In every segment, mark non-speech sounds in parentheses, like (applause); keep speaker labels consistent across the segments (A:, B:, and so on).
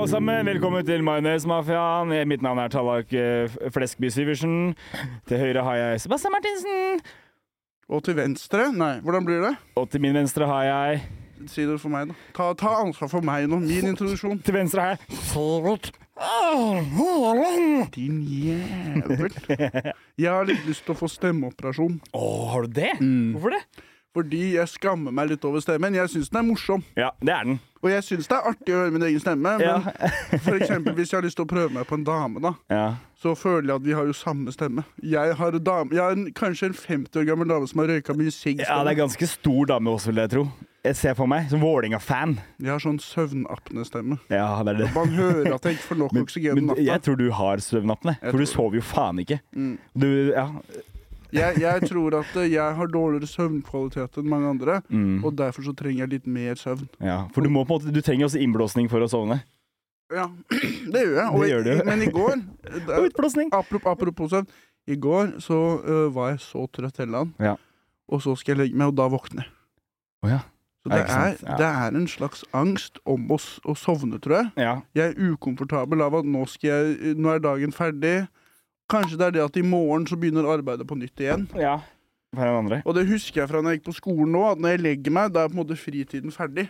A: velkommen til Majonesmafiaen. Mitt navn er Tallak eh, F- Fleskby Syversen. Til høyre har jeg Sebastian Martinsen.
B: Og til venstre? Nei, hvordan blir det?
A: Og til min venstre har jeg
B: Si det for meg, da. Ta, ta ansvar for meg nå. Min introduksjon.
A: Til venstre har jeg Sivert Haaland.
B: Din jævel. Jeg har litt lyst til å få stemmeoperasjon.
A: Å, har du det? Hvorfor det?
B: Fordi jeg skammer meg litt over stemmen. Jeg syns den er morsom.
A: Ja, det er den.
B: Og jeg syns det er artig å høre min egen stemme, men
A: Ja.
B: for eksempel hvis jeg har lyst til å prøve meg på en dame, da,
A: Ja.
B: så føler jeg at vi har jo samme stemme. Jeg har, dame, jeg har en, kanskje en 50 år gammel dame som har røyka mye sigg.
A: ja, det er ganske stor dame også, vil jeg tro. Jeg ser for meg som Vålinga-fan.
B: Jeg har sånn søvnapnestemme.
A: Ja, det er det.
B: Man hører at jeg ikke får nok oksygen om
A: Men jeg
B: natta.
A: tror du har søvnappene,
B: Jeg
A: for du
B: tror-
A: sover jo faen ikke.
B: Mm.
A: Du, ja.
B: Jeg, jeg tror at eh, jeg har dårligere søvnkvalitet enn mange andre,
A: Mm.
B: og derfor så trenger jeg litt mer søvn.
A: ja. For du må på en måte Du trenger også innblåsning for å sovne.
B: Ja, (clears throat) det gjør jeg. Og,
A: Det gjør du.
B: Men
A: (laughs)
B: i går eh, det-
A: Og utblåsning!
B: Aprop, apropos søvn. I går så ø, var jeg så trøtt hele dagen,
A: Ja.
B: og så skal jeg legge meg, og da våkner jeg.
A: Å ja.
B: Så
A: Ja,
B: det
A: ikke
B: er,
A: sant? Ja.
B: det er en slags angst om å, s- å sovne, tror jeg.
A: Ja.
B: Jeg er ukomfortabel av at nå, skal jeg, øh, nå er dagen ferdig. Kanskje det er det at i morgen så begynner arbeidet på nytt igjen.
A: ja. Hva er den andre?
B: Og det husker jeg fra når jeg gikk på skolen nå, at når jeg legger meg, da er på en måte fritiden ferdig.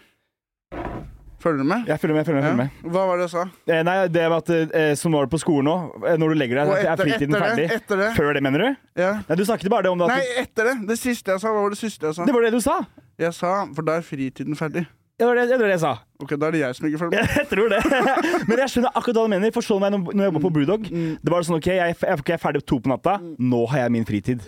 B: Følger du med?
A: Jeg følger med. jeg følger med, jeg følger med.
B: Hva var det jeg sa?
A: Eh, nei, det var at eh, Som nå er det på skolen nå, eh, når du legger deg,
B: Og
A: at er
B: etter,
A: fritiden
B: etter det,
A: ferdig.
B: etter det,
A: Før det, mener du?
B: ja.
A: Nei, du snakket bare det om det.
B: Nei,
A: At
B: etter det. Det siste jeg sa, hva var det siste jeg sa?
A: du, det var det du sa!
B: Jeg sa, for da er fritiden ferdig.
A: Det var det, det, var det jeg sa. (laughs)
B: Ok, da er det jeg som ikke følger med.
A: Jeg tror det. (laughs) Men jeg skjønner akkurat hva du mener. Forstå meg når når jeg jobba på Brewdog.
B: Mm,
A: Det var sånn OK, jeg, jeg, jeg er ferdig to på natta. Nå har jeg min fritid.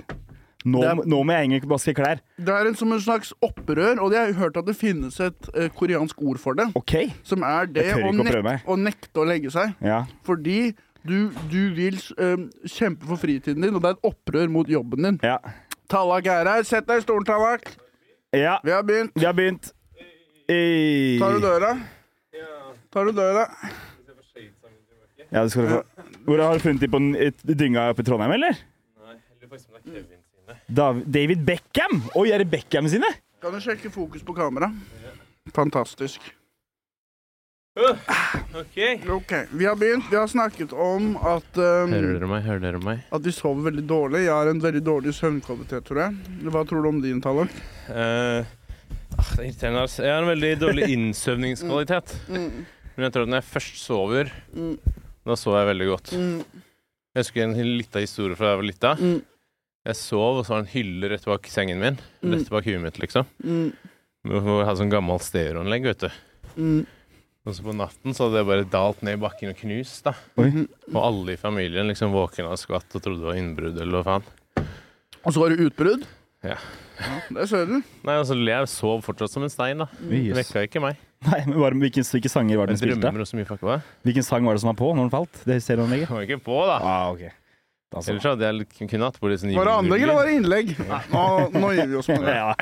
A: Nå,
B: Det er-
A: nå må jeg egentlig vaske klær.
B: Det er en, som en slags opprør, og jeg har hørt at det finnes et eh, koreansk ord for det,
A: OK.
B: som er det
A: Jeg tør
B: å,
A: ikke å
B: nek
A: prøve meg.
B: å nekte å legge seg.
A: Ja.
B: Fordi du, du vil eh, kjempe for fritiden din, og det er et opprør mot jobben din.
A: Ja.
B: Tallak er her. Sett deg i stolen, Tallak.
A: ja.
B: Vi har begynt.
A: Vi har begynt. Ei.
B: Tar du døra? Tar du døra?
A: Ja, du skal få. Hvor har du funnet de på den- i dynga oppe i Trondheim, eller?
C: Nei, jeg lurer faktisk om det er Kevin sine.
A: Dav David Beckham! Oi, er det Beckham sine?
B: Kan du sjekke fokus på kamera? Fantastisk.
C: OK.
B: Ok, Vi har begynt. Vi har snakket om at, eh,
C: Hører dere meg? Hører dere meg?
B: at vi sover veldig dårlig. Jeg har en veldig dårlig søvnkvalitet, tror jeg. Hva tror du om din, Tallak?
C: Eh, ah, det er irriterende. ass. Jeg har en veldig (laughs) dårlig innsøvningskvalitet. Men jeg tror at når jeg først sover,
B: Mm.
C: da sover jeg veldig godt. Jeg husker en lita historie fra da jeg var lita.
B: Mm.
C: Jeg sov, og så var det en hylle rett bak sengen min.
B: Mm.
C: Rett bak huet mitt, liksom. Hvor jeg hadde sånn gammelt stereoanlegg, vet du. Og så på natten så hadde det bare dalt ned i bakken og knust, da.
A: Oi.
C: Og alle i familien liksom våkna og skvatt og trodde det var innbrudd eller hva faen.
B: Og så var det utbrudd?
C: Ja.
B: Ja, Det ser du.
C: Nei, altså, jeg sov fortsatt som en stein, da. Det vekka ikke meg.
A: Nei, men var, hvilken, hvilke sanger var det
C: Jeg
A: den spilte?
C: drømmer og så mye fuck hva?
A: Hvilken sang var det som var på når den falt? Det ser du
C: (laughs)
A: anlegget?
C: Kommer ikke på, da.
A: Ah, ok. Da så.
C: Ellers hadde jeg litt- kunne hatt på litt sånn
B: Var det anlegg eller var
C: julelyd.
B: det innlegg? Nå, nå gir vi oss med det.
A: Ja.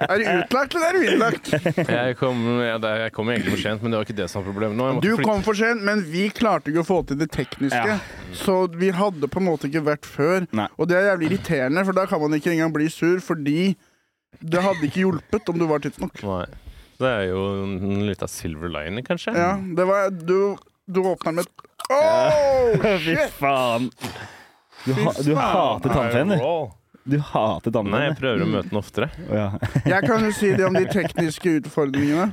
B: Er det utlagt eller er det innlagt?
C: (laughs) Jeg kom, ja, det- jeg kom egentlig for sent, men det var ikke det som var problemet nå. Jeg måtte
B: Du
C: flytte-
B: kom for sent, men vi klarte ikke å få til det tekniske.
A: Ja.
B: Så vi hadde på en måte ikke vært før.
A: Nei.
B: Og det er jævlig irriterende, for da kan man ikke engang bli sur, fordi det hadde ikke hjulpet om du var tidsnok.
C: Nei. Det er jo en liten silver lining, kanskje.
B: Ja, det var Du, du åpna med et
C: (laughs)
B: Åh!
A: Fy faen. Du, ha, du hater tannfeen, du.
C: Roll.
A: Du hater
C: Nei,
A: tannfeen.
C: jeg prøver å møte den oftere.
A: du. Å, ja.
B: Jeg kan jo si det om de tekniske utfordringene.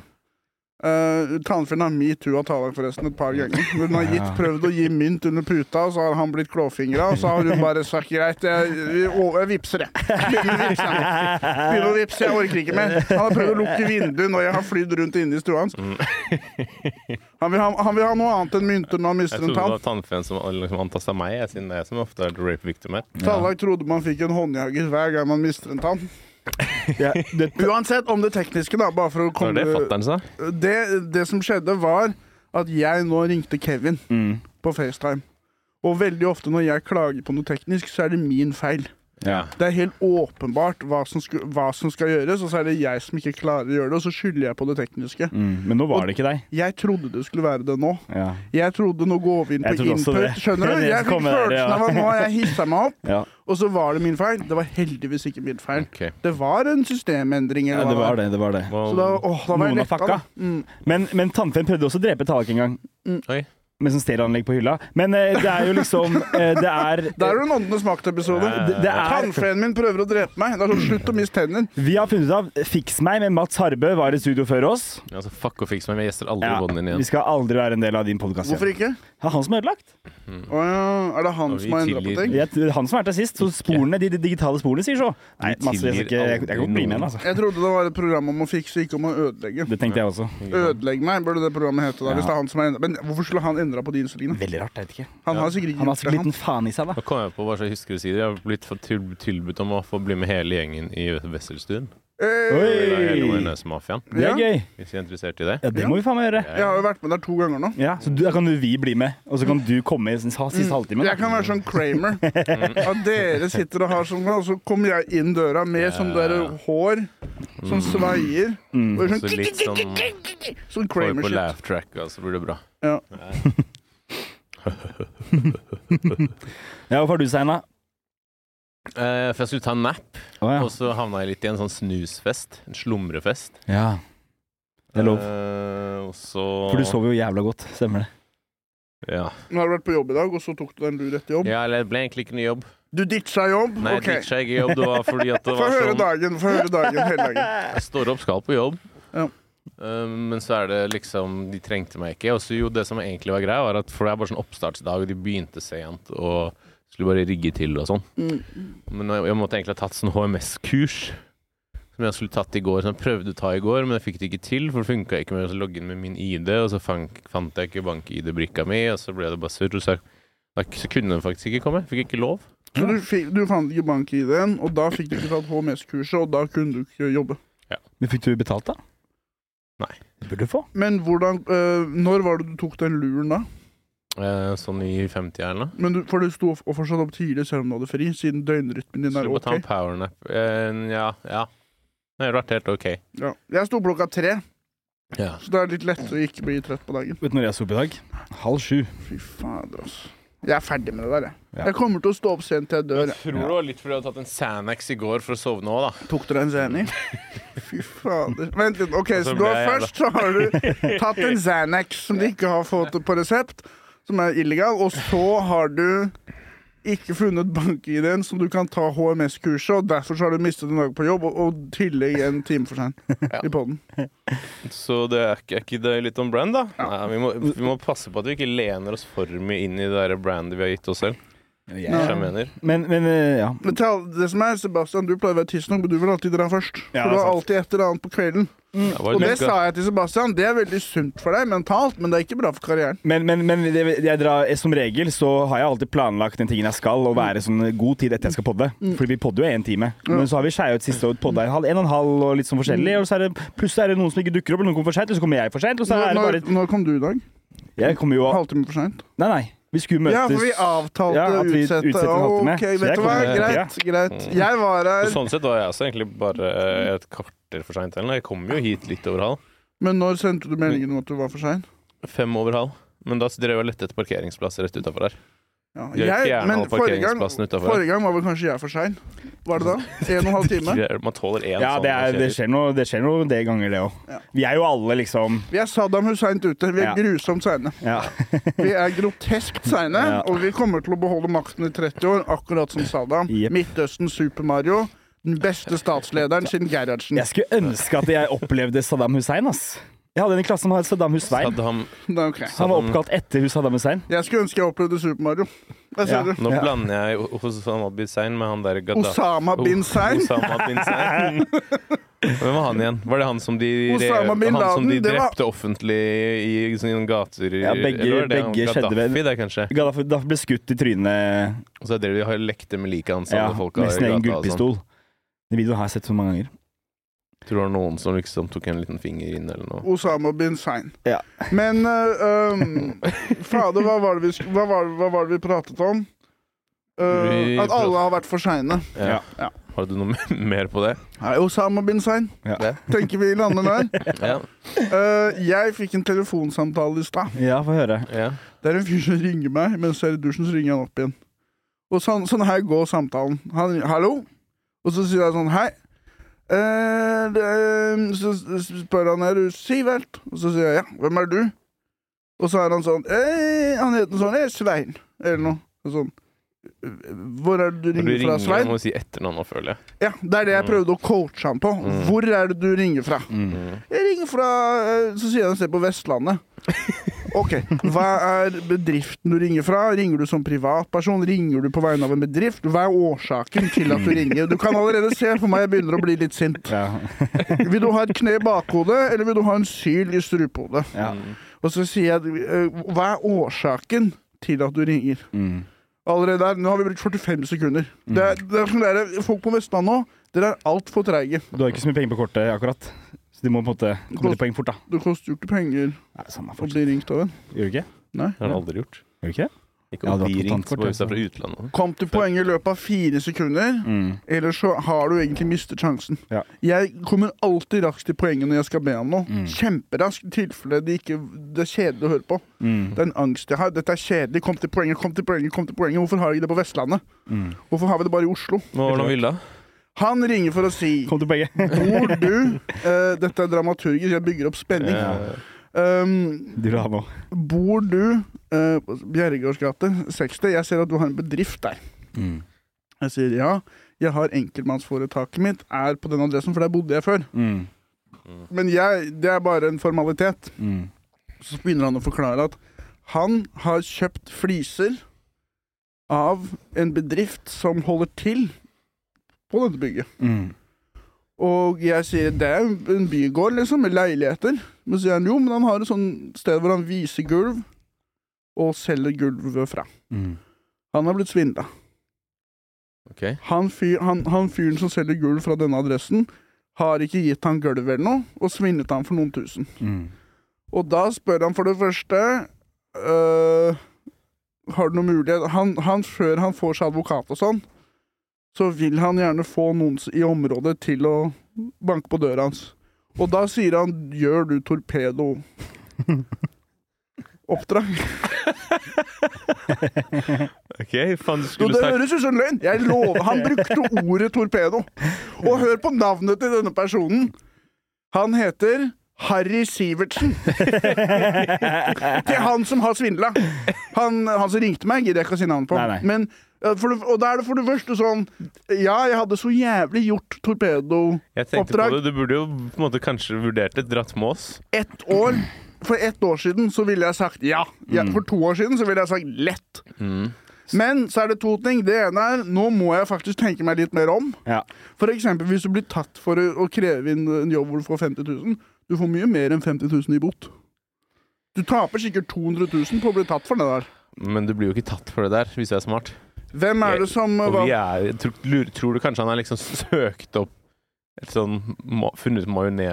B: Uh, Tannfeen har metoo av Tallak forresten et par ganger. Hun har gitt, prøvd å gi mynt under puta, og så har han blitt klåfingra. Og så har hun bare sagt greit, jeg, vi- å, jeg vipser, jeg. Begynner å vipse, jeg. Begynner å vipse, jeg orker ikke mer. Han har prøvd å lukke vinduet når jeg har flydd rundt inne i stua hans.
C: Mm.
B: Han vil, ha, han vil ha noe annet enn mynter når han
C: Jeg
B: mister en
C: trodde det var
B: tann.
C: tannfeen som liksom antasta meg, jeg, siden det er jeg som ofte er rape victim her.
B: Tallak trodde man fikk en håndjager hver gang man mister en tann.
A: Ja, det,
B: Uansett om det tekniske, da, bare for å
C: Var
B: komme
C: det fatter'n sa?
B: det, det som skjedde var at jeg nå ringte Kevin
A: mm.
B: på FaceTime. Og veldig ofte når jeg klager på noe teknisk, så er det min feil.
C: Ja.
B: Det er helt åpenbart hva som, sku, hva som skal gjøres, og så er det jeg som ikke klarer å gjøre det, og så skylder jeg på det tekniske.
A: mm. Men nå var det ikke deg.
B: Jeg trodde det skulle være det nå.
A: Ja.
B: Jeg trodde nå går vi inn
A: Jeg
B: på
A: trodde også
B: input.
A: det. (laughs)
B: Skjønner du?
A: Det
B: Jeg fikk
A: kommer der, ja.
B: følelsen av at nå har
A: (laughs)
B: jeg hissa meg opp,
A: ja.
B: og så var det min feil. Det var heldigvis ikke min feil.
C: Ok.
B: Det var en systemendring.
A: ja,
B: Eller
A: det
B: hva
A: var det. det, var det.
B: Så da, åh, da var jeg
A: Noen har
B: letta,
A: fucka.
B: da. Mm.
A: Men, men tannfeen prøvde også å drepe Tallak en gang.
C: Oi.
A: med sånn stereoanlegg på hylla. Men eh, det er jo liksom eh, Det er
B: Det er jo en Åndenes makt-episode.
C: Ja,
A: det, det er,
B: Tannfeen min prøver å drepe meg. Det er sånn, Slutt å miste tenner.
A: Vi har funnet ut av Fiks meg med Mats Harbø var i studio før oss.
C: Altså, fuck og fiks meg, men jeg gjester aldri
A: Ja,
C: båten din igjen.
A: vi skal aldri være en del av din
C: Altså.
A: podkast.
B: Hvorfor
A: Det
B: ikke?
A: er han som har ødelagt.
B: Å ja. Er det han
C: Og vi
B: som har endra på
C: tilgir-
B: ting?
A: Jeg- det er Han som har vært der sist. Så sporene, de, de digitale sporene sier så. Nei, Mats, jeg, skal ikke, jeg, jeg kan ikke bli med igjen, altså.
B: Jeg trodde det var et program om å fikse, ikke om å ødelegge.
A: Det tenkte jeg også.
B: Ødelegg meg, burde det programmet hete. da,
A: Ja.
B: hvis det er han som har endret. Men hvorfor skulle han endra på de innstillingene?
A: Veldig rart, jeg vet ikke.
B: Han har sikkert ikke
A: Han har
B: gjort
A: sikkert en
B: det. Han.
A: liten faen i seg, da.
C: Nå kom jeg på hva jeg husker å si det. Jeg har blitt fått til- tilbudt om å få bli med hele gjengen i Wesselstuen.
B: Eh,
C: Hele
A: Oi!
C: Nordnes-mafiaen.
A: Det
B: Ja.
A: er gøy.
C: Hvis jeg er interessert i det.
A: Ja, det må vi faen meg gjøre.
B: Jeg har jo vært med der to ganger nå.
A: Ja, så da kan jo vi bli med, og så kan du komme i sin- sa- siste halvtimen.
B: Jeg
A: da.
B: kan være sånn
C: (laughs)
B: Kramer. At dere sitter og har sånn, og så kommer jeg inn døra med sånn der hår sånn som sveier.
A: Mm.
B: Og
C: Mm. Så
B: sånn,
C: litt sånn
B: sånn
C: Får på
B: Kramer-shit.
C: laugh track, altså blir det bra.
B: Ja.
A: Ja, hvorfor har du segna?
C: Eh, for jeg skulle ta en nap,
A: Å ja.
C: og så havna jeg litt i en sånn snusfest. En slumrefest.
A: ja. Det er lov.
C: Eh, og så
A: For du sover jo jævla godt, stemmer det?
C: Ja.
B: Nå har du vært på jobb i dag, og så tok du deg en lur etter jobb.
C: ja, eller det ble egentlig ikke noe jobb.
B: Du ditcha jobb?
C: Nei,
B: OK.
C: jeg ditcha ikke jobb. Det var fordi at det
B: (laughs) Få
C: var
B: høre
C: sånn
B: dagen, få høre dagen hele dagen.
C: Jeg står opp, skal på jobb.
B: Ja.
C: Eh, men så er det liksom De trengte meg ikke. Og så jo, det som egentlig var greia, var at for det er bare sånn oppstartsdag, og de begynte sent og skulle bare rigge til og sånn. Men jeg, jeg måtte egentlig ha tatt sånn HMS-kurs. Som jeg skulle tatt i går, som jeg prøvde å ta i går, men jeg fikk det ikke til. For det funka ikke med å logge inn med min ID, og så fant, fant jeg ikke bank-ID-brikka mi, og så ble det bare surr. og Så, så kunne den faktisk ikke komme. Fikk ikke lov.
B: Så du, fikk, du fant ikke bank-ID-en, og da fikk du ikke tatt HMS-kurset, og da kunne du ikke jobbe.
A: (laughs) Men fikk du betalt, da?
C: Nei.
A: Det burde du få.
B: Men hvordan øh, Når var det du tok den luren da?
C: Eh, sånn i 50 eller noe.
B: Men du, for du sto opp- og fortsatt opp tidlig selv om du hadde fri, siden døgnrytmen din er
C: Skulle bare ta en
B: OK.
C: powernap. Eh, ja, ja. Det har vært helt ok.
B: Ja. Jeg sto opp klokka tre,
C: Ja.
B: så det er litt lettere å ikke bli trøtt på dagen.
A: Vet du når jeg sover i dag? Halv sju.
B: Fy fader, altså. Jeg er ferdig med det der, jeg.
A: Ja.
B: Jeg kommer til å stå opp sent til jeg dør.
C: Jeg
B: jeg.
C: tror det var litt fordi jeg hadde tatt en Sanax i går for å sovne òg, da.
B: Tok dere en
C: (laughs)
B: Zany? Fy fader. Vent litt. Ok,
C: Og så
B: så du
C: ble
B: har
C: jeg jævla-
B: først så har du tatt en Xanax som de ikke har fått på resept, som er illegal, og så har du ikke funnet bank-ID-en som du kan ta HMS-kurset, og derfor så har du mistet en dag på jobb, og- og i tillegg en time for
C: (laughs)
B: sent i poden.
C: Så det er ikke, er ikke det litt om brand, da? Nei, vi, må, vi må passe på at vi ikke lener oss for mye inn i det der brandet vi har gitt oss selv.
B: Ja.
C: Hvis jeg mener.
A: Men, men eh, ja.
B: Men til alle- det som er, Sebastian, du pleier å være tidsnok, men du vil alltid dra først.
A: Ja, det er
B: for du har
C: altså.
A: sant.
B: alltid et eller annet på kvelden.
C: Det var
B: Mm. Og det
C: litt godt.
B: sa jeg til Sebastian, det er veldig sunt for deg mentalt, men det er ikke bra for karrieren.
A: Men, men, men det- jeg drar, eh, som regel så har jeg alltid planlagt den tingen jeg skal, og være sånn god tid etter jeg skal podde.
B: Mm.
A: Fordi vi podder jo én time. Men så har vi skeia ut siste og podda en halv, en og en halv og litt sånn forskjellig. Og så er det, pluss er det noen som ikke dukker opp, og noen kommer for seint, og så kommer jeg for seint. Og så er det
B: Når,
A: bare
B: når kom du i dag?
A: Jeg kommer jo
B: Halvtime for seint?
A: Nei, nei. Vi skulle møtes
B: Ja, for vi avtalte
A: Ja,
B: å
A: at vi
B: utsette.
A: utsetter en halvtime.
B: Ok,
A: Så
B: vet
A: jeg
B: du hva?
A: kommer-
B: Greit, greit. Jeg var
C: Så
B: her,
C: Sånn sett var jeg også egentlig bare eh, et kvarter for seint. Jeg kom jo hit litt over halv.
B: men når sendte du meldingen om at du var for sein?
C: Fem over halv. Men da drev jeg og lette etter parkeringsplass rett utafor her.
B: Ja,
C: Vi har fjernet
B: men
C: all
B: forrige gang,
C: parkeringsplassen utenfor.
B: forrige gang var vel kanskje jeg for sein? Var det da? En og en halv time?
C: Man tåler én
A: Ja,
C: sånn
A: det, er, det
C: parkering.
A: skjer noe det skjer noe det ganger, det òg.
B: Ja.
A: Vi er jo alle liksom
B: Vi er Saddam Hussein ute. Vi er
A: Ja.
B: grusomt seine.
A: Ja.
B: Vi er groteskt seine,
A: Ja.
B: og vi kommer til å beholde makten i 30 år, akkurat som Saddam.
A: Jep.
B: Midtøstens Super-Mario. Den beste statslederen siden Gerhardsen.
A: Jeg skulle ønske at jeg opplevde Saddam Hussein, ass. Jeg hadde en i klassen som hadde Saddam Hussein.
C: Saddam
B: Det er ok.
A: Han var oppkalt etter Saddam Hussein.
B: Jeg skulle ønske jeg opplevde Super-Mario. Der ser
A: Ja.
B: du.
C: Nå
A: Ja.
C: blander jeg O- Osama bin Sein med han der Gadda-
B: Osama bin Sein.
C: O- Osama bin
A: (laughs)
B: (laughs)
C: Sein. Hvem var han igjen? Var det han som de,
B: Osama bin
C: han som de
B: Laden, det var-
C: drepte offentlig i sånne gater?
A: Ja, begge-
C: eller var det han
A: begge skjedde
C: Gaddafi,
A: ved-
C: det, kanskje.
A: Gaddafi Gaddafi ble skutt i trynet
C: Og så er det de har lekte med liket hans.
A: ja,
C: alle folka
A: med
C: i
A: sin egen
C: gata og sånn.
A: gullpistol. Den videoen har jeg sett så mange ganger.
C: Tror det var noen som liksom tok en liten finger inn eller noe.
B: Osama bin Sein.
A: Ja.
B: Men eh, um, Fader, hva var, det vi, sk- hva, var, hva var det vi pratet om? Eh,
C: Vi
B: at alle har vært for seine.
A: Ja.
B: Ja.
C: Har du noe (laughs) mer på det?
B: Nei, Osama bin Sein.
A: Ja.
B: Tenker vi lander der.
C: Ja.
B: Eh, jeg fikk en telefonsamtale i stad.
A: Ja, få høre.
C: ja.
B: Det er en fyr som ringer meg, mens jeg er i dusjen, så ringer han opp igjen. Og sånn, sånn her går samtalen. Han ringer, 'hallo', og så sier jeg sånn 'hei'. Eh, det, så spør han er du Sivert, og så sier jeg ja. Hvem er du? Og så er han sånn «Ei», Han heter sånn «Ei, Svein, eller noe. Og Sånn. Hvor er det du
C: Når du
B: ringer fra,
C: ringer,
B: Svein?
C: må du si etternavn nå, føler jeg.
B: Ja, Det er det jeg prøvde å coache ham på. Hvor er det du ringer fra?
A: Mm.
C: Mm.
B: Jeg ringer fra eh, Så sier han se på Vestlandet. OK. Hva er bedriften du ringer fra? Ringer du som privatperson? Ringer du på vegne av en bedrift? Hva er årsaken til at du ringer? Du kan allerede se for meg jeg begynner å bli litt sint.
A: Ja.
B: Vil du ha et kne i bakhodet, eller vil du ha en syl i strupehodet?
A: Ja.
C: Mm.
B: Og så sier jeg eh, Hva er årsaken til at du ringer?
A: Mm.
B: Allerede der, Nå har vi brukt 45 sekunder. Det er, det er sånn der, Folk på Vestlandet nå, dere er altfor treige.
A: Du har ikke så mye penger på kortet akkurat, så de må på en måte komme til poeng fort, da.
B: Det koster jo ikke penger
A: Nei, samme
B: å
A: fortsatt.
B: bli ringt av en.
A: Gjør du ikke?
B: Nei.
C: Det har han aldri gjort.
A: Gjør du ikke det?
C: Ikke
A: Ja,
C: om
A: det var
C: de ringte
A: kontantkort,
C: på hvis det
A: altså.
C: er fra utlandet.
B: Kom til poenget i løpet av fire sekunder,
A: Mm.
B: ellers så har du egentlig mistet sjansen.
A: Ja.
B: Jeg kommer alltid raskt til poenget når jeg skal be om noe.
A: Mm.
B: Kjemperaskt i tilfelle det, ikke, det er kjedelig å høre på.
A: Mm.
B: Det er en angst jeg har. Dette er kjedelig. Kom til poenget, kom til poenget. kom til poenget. Hvorfor har jeg ikke det på Vestlandet?
A: Mm.
B: Hvorfor har vi det bare i Oslo?
C: Hva var det han ville?
B: Han ringer for å si
A: Kom til poenget.
B: Bor du eh, Dette er dramaturgisk, jeg bygger opp spenning.
C: Ja.
B: Um,
A: Du vil ha noe.
B: bor du eh, på Bjerregaards gate 60? Jeg ser at du har en bedrift der.
A: Mm.
B: Jeg sier ja. Jeg har enkeltmannsforetaket mitt, er på den adressen, for der bodde jeg før.
A: Mm.
B: Men jeg, det er bare en formalitet.
A: Mm.
B: Så begynner han å forklare at han har kjøpt fliser av en bedrift som holder til på dette bygget.
A: Mm.
B: Og jeg sier det er en bygård, liksom, med leiligheter. Men så sier han jo, men han har et sånt sted hvor han viser gulv, og selger gulvet fra.
A: Mm.
B: Han har blitt svindla.
C: Ok.
B: Han, fyr, han, han fyren som selger gulv fra denne adressen, har ikke gitt han gulv eller noe, og svindlet han for noen tusen.
A: Mm.
B: Og da spør han for det første øh, Har du noen mulighet han, han, Før han får seg advokat og sånn, så vil han gjerne få noen s- i området til å banke på døra hans. Og da sier han 'gjør du torpedo'? Oppdrag.
C: Ok, faen, du
B: Jo,
C: skulle
B: det
C: sagt
B: høres ut som løgn! Jeg lover, Han brukte ordet torpedo. Og hør på navnet til denne personen. Han heter Harry Sivertsen. Til han som har svindla. Han, han som ringte meg, gidder jeg ikke å si navnet på.
A: Nei, nei.
B: Men, eh, for det, og da er det for det første sånn Ja, jeg hadde så jævlig gjort torpedo
C: Jeg tenkte
B: Oppdrag.
C: på det. Du burde jo på en måte kanskje vurdert det. Dratt med oss.
B: ett år. For ett år siden så ville jeg sagt ja. ja.
A: Mm.
B: For to år siden så ville jeg sagt lett.
C: Mm.
B: Men så er det to ting. Det ene er nå må jeg faktisk tenke meg litt mer om.
A: (laughs) Ja.
B: For eksempel hvis du blir tatt for å å kreve inn en jobb hvor du får 50 000. Du får mye mer enn 50 000 i bot. Du taper sikkert 200 000 på å bli tatt for det der.
C: Men du blir jo ikke tatt for det der, hvis jeg er smart.
B: Hvem er
C: Jeg-
B: det som uh,
C: Og
B: var
C: vi er, jeg tror, lurer- tror du kanskje han har liksom søkt opp et sånn ma Funnet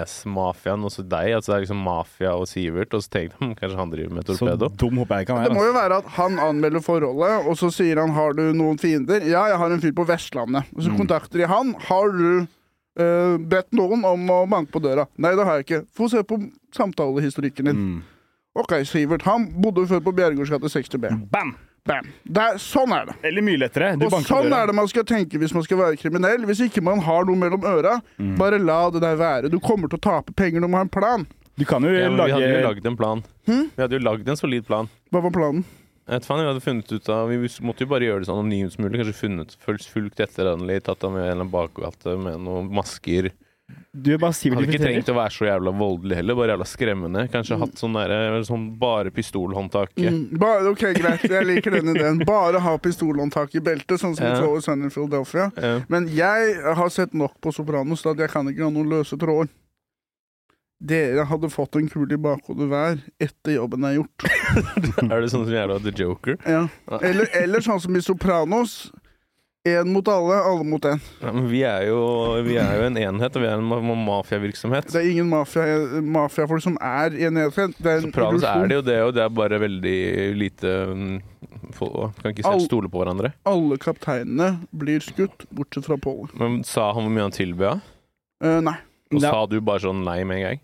C: majonesmafiaen hos deg? Altså det er liksom mafia og Sivert, og så tenkte han kanskje han driver med
A: Så
C: torpedo?
A: dum håper jeg ikke han
B: Det
A: er.
B: må
A: altså.
B: jo være at han anmelder forholdet, og så sier han 'har du noen fiender'? 'Ja, jeg har en fyr på Vestlandet'. Og
C: Mm.
B: så kontakter de han. 'Har du eh, bedt noen om å banke på døra?' 'Nei, det har jeg ikke'. Få se på samtalehistorikken din.
A: Mm.
B: OK, Sivert. Han bodde før på Bjerregaards gate 60B.
C: Mm.
A: Bam!
B: Bam. Der, sånn er det.
A: Eller mye lettere. Du
B: Og
A: banker på
B: sånn
A: døra.
B: er det man skal tenke hvis man skal være kriminell. Hvis ikke man har noe mellom øra, bare la det der være. Du kommer til å tape penger, du må ha en plan.
A: Du Hm? kan jo
C: Ja, men vi hadde jo
A: lage
C: lagd en plan. Vi hadde jo lagd en solid plan.
B: Hva var planen?
C: Jeg vet faen, vi hadde funnet ut av Vi måtte jo bare gjøre det så anonymt som mulig. Kanskje funnet fulgt, fulgt etter han litt, tatt ham med i en eller annen bakgate med noen masker.
A: Du Mm. bare sier
C: Hadde ikke trengt å være så jævla voldelig heller, bare jævla skremmende. Kanskje hatt sånn derre sånn bare pistolhåndtak. (laughs)
B: Mm, Bare, ok, greit, jeg liker den ideen. Bare ha pistolhåndtak i beltet, sånn som
C: Ja.
B: vi så i Sunny Philadelphia.
C: Ja.
B: Men jeg har sett nok på Sopranos til at jeg kan ikke ha noen løse tråder. Dere hadde fått en kule i bakhodet hver etter jobben er gjort.
C: Er det sånn som jævla The Joker?
B: Ja. Eller, eller sånn som i Sopranos. Én mot alle, alle mot én.
C: Ja, men vi er, jo, vi er jo en enhet, og vi er en ma- ma- mafiavirksomhet.
B: Det er ingen mafia- mafiafolk som er i en enhet. Det er en
C: Sopranos er
B: illusjon.
C: det jo det, og det er bare veldig lite mm, få- Kan ikke
B: Al-
C: helt stole på hverandre.
B: Alle kapteinene blir skutt, bortsett fra Paul.
C: Men sa han hvor mye han tilbød?
B: Eh, nei.
C: Og
A: Nei.
C: sa du bare sånn nei med en gang?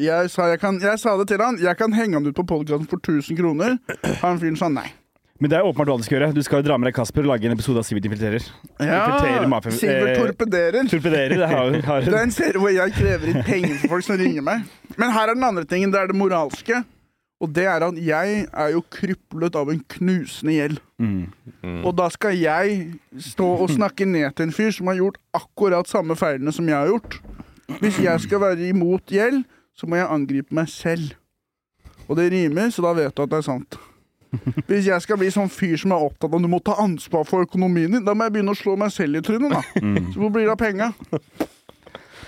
B: Jeg sa, jeg, kan, jeg sa det til han. Jeg kan henge han ut på podkasten for 1000 kroner. Han fyren sa nei.
A: Men det er åpenbart hva du skal gjøre. Du skal jo dra med deg Kasper og lage en episode av Sivert infiltrerer. Infiltrerer mafia-
B: Sivert
A: eh,
B: torpederer.
A: Torpederer. Det har, har
B: Det er en serie hvor jeg krever inn penger for folk som ringer meg. Men her er den andre tingen. Det er det moralske. Og det er at jeg er jo kryplet av en knusende gjeld.
A: Mm.
C: Mm.
B: Og da skal jeg stå og snakke ned til en fyr som har gjort akkurat samme feilene som jeg har gjort. Hvis jeg skal være imot gjeld, så må jeg angripe meg selv. Og det rimer, så da vet du at det er sant. Hvis jeg skal bli sånn fyr som er opptatt av at du må ta ansvar for økonomien din, da må jeg begynne å slå meg selv i trynet, da.
C: Mm.
B: Så hvor blir det av penga?